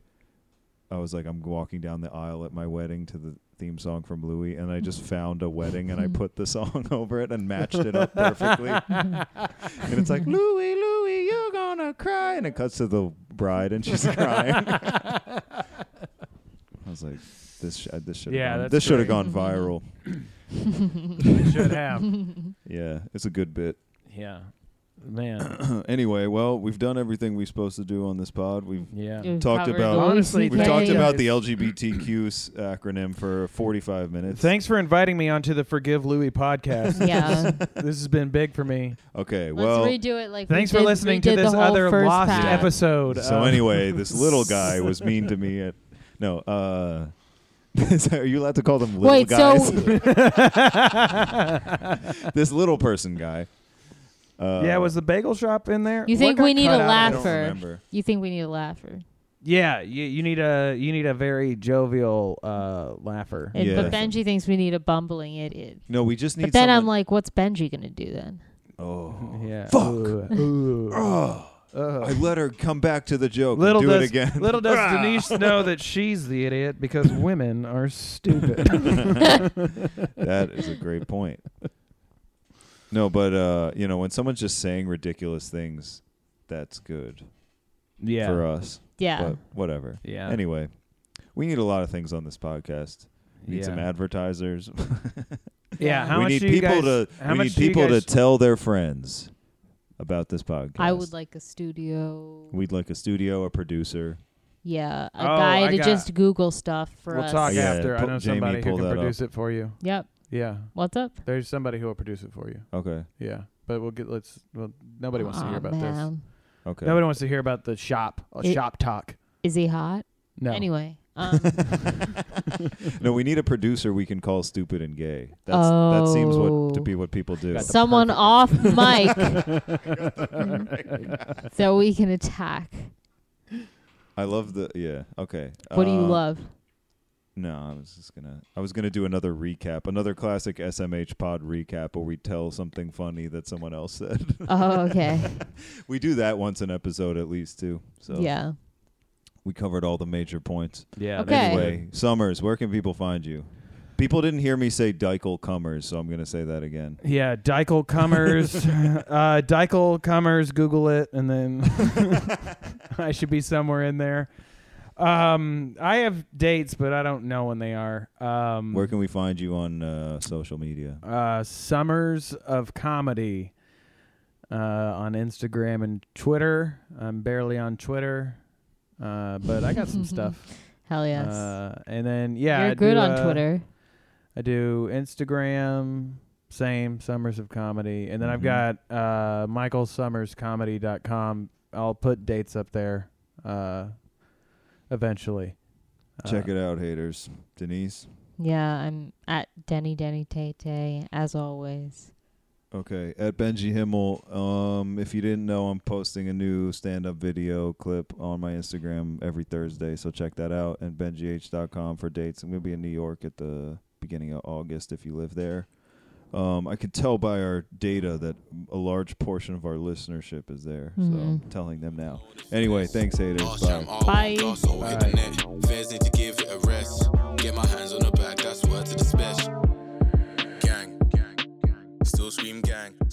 S5: I was like, I'm walking down the aisle at my wedding to the theme song from Louis, and I just found a wedding
S3: [LAUGHS]
S5: and I put the song [LAUGHS] over it and matched it up perfectly. and it's like, Louis, Louis, you're gonna cry, and it cuts to the bride and she's
S3: [LAUGHS]
S5: crying. I was like, this, sh- uh, this should,
S3: Yeah,
S5: gone,
S3: that's
S5: this should have
S3: great. Mm-hmm.
S5: gone viral.
S3: Should have.
S5: Yeah, it's a good bit.
S3: Yeah, man.
S5: anyway, well, we've done everything we're supposed to do on this pod. We've
S3: Yeah.
S4: We've
S5: talked
S4: covered
S5: about-
S4: Louis
S3: Honestly,
S5: we've
S3: Thank
S4: CK.
S5: talked
S3: you.
S5: about the LGBTQ s- acronym for 45 minutes.
S3: Thanks for inviting me onto the Forgive Louie
S4: [LAUGHS]
S3: podcast.
S4: yeah
S3: this has been big for me.
S5: okay, well,
S4: let's redo it like
S3: [LAUGHS]
S4: we
S3: Thanks
S4: did-
S3: for listening
S4: we
S3: to
S4: did the
S3: this
S4: whole
S3: other
S4: first
S3: lost
S4: pass.
S3: episode.
S5: so
S3: of- [LAUGHS]
S4: [LAUGHS]
S5: anyway, this little guy was mean to me at no, uh [LAUGHS] are you allowed to call them little
S4: Wait,
S5: guys? [LAUGHS]
S4: so
S5: this little person guy. Uh,
S3: yeah, was the bagel shop in there?
S4: You
S3: What
S4: think
S3: got
S4: we need
S3: cut
S4: a
S3: out?
S5: I
S3: I
S5: don't
S3: don't-
S4: laugher?
S5: remember.
S4: you think we need a laugher?
S3: Yeah, you, you need a you need a very jovial uh, laugher.
S4: And, But
S5: Yeah.
S4: Benji thinks we need a bumbling idiot.
S5: No, we just need
S4: But then I'm
S5: someone-
S4: like, what's Benji gonna do then?
S5: Oh.
S3: Yeah.
S5: Fuck. [LAUGHS]
S3: Ooh.
S5: Oh,
S3: Ugh.
S5: I let her come back to the joke. and
S3: Little
S5: do
S3: does,
S5: it again. [LAUGHS] Ah.
S3: little does Denise know that she's the idiot because women are
S5: [LAUGHS]
S3: stupid.
S5: that is a great point. No, but uh, you know, when someone's just saying ridiculous things, that's good
S3: [LAUGHS] yeah.
S5: for us.
S4: Yeah.
S5: But whatever.
S3: yeah.
S5: uh, Anyway, we need a lot of things on this podcast. We need
S3: yeah.
S5: some advertisers.
S3: Yeah. How
S5: we
S3: much
S5: need
S3: do you
S5: people
S3: guys,
S5: to
S3: How
S5: we
S3: much
S5: need
S3: do you
S5: people
S3: guys,
S5: to tell their friends about this podcast.
S4: I would like a studio.
S5: We'd like a studio, a producer.
S4: yeah, a
S3: Oh,
S4: guy
S3: I
S4: to
S3: got-
S4: just Google stuff for
S3: We'll
S4: us.
S3: talk
S5: Yeah,
S3: after. I
S5: pull-
S3: know
S5: Jamie,
S3: somebody
S5: pull
S3: who
S5: that
S3: can
S5: up.
S3: produce it for you.
S4: Yep.
S3: Yeah.
S4: What's up?
S3: There's somebody who will produce it for you.
S5: Okay.
S3: Yeah. But we'll get let's well nobody wants to hear
S4: Aw,
S3: about this.
S4: man.
S5: Okay.
S3: Nobody wants to hear about the shop uh,
S4: It-
S3: shop talk.
S4: Is he hot?
S3: No.
S4: Anyway. [LAUGHS]
S3: [LAUGHS]
S4: Um,
S5: [LAUGHS] no, we need a producer we can call stupid and gay. That's that seems what to
S4: Oh.
S5: be what people do.
S3: [LAUGHS] Got the
S4: someone
S3: perfect-
S4: off mic so we can attack.
S5: I love the yeah. Okay.
S4: What do you
S5: Uh,
S4: love?
S5: No, I was just gonna. I was gonna do another recap, another classic SMH pod recap, where we tell something funny that someone else said. [LAUGHS]
S4: Oh, okay.
S3: [LAUGHS]
S4: [LAUGHS]
S5: we do that once an episode at least too. So
S4: yeah.
S5: we covered all the major points.
S3: Yeah.
S4: Okay.
S5: Anyway, Summers, where can people find you? People didn't hear me say Dykel Cummers, so I'm gonna say that again.
S3: Yeah, Dykel
S5: [LAUGHS]
S3: Cummers. uh, Dykel Cummers, Google it, and then [LAUGHS] I should be somewhere in there. Um, I have dates, but I don't know when they are. Um,
S5: Where can we find you on uh, social media?
S3: uh, Summers of Comedy uh, on Instagram and Twitter. I'm barely on Twitter, uh, but I got
S4: [LAUGHS]
S3: some stuff.
S4: Hell yes.
S3: Uh, and then, yeah. I
S4: You're good
S3: do,
S4: on
S3: uh,
S4: Twitter.
S3: I do Instagram, same Summers of Comedy, and then
S4: Mm-hmm.
S5: Mhm.
S3: I've got uh, michaelsummerscomedy.com I'll put dates up there uh, eventually. Uh,
S5: Check it out, haters. Denise.
S4: Yeah, I'm at Denny Denny Tay Tay as always.
S5: Okay, at Benji Himmel. Um, if you didn't know, I'm posting a new stand-up video clip on my Instagram every Thursday, so check that out. And BenjiH.com for dates. I'm gonna be in New York at the beginning of August if you live there. Um, I could tell by our data that a large portion of our listenership is there, so I'm telling them now. Anyway, thanks, haters.
S2: Boss,
S5: Bye.
S2: I'm all
S4: Bye.
S2: one boss, so hit the net. Feds need to give it a rest. Get my hands on the back, that's word to the special. Gang, still scream gang.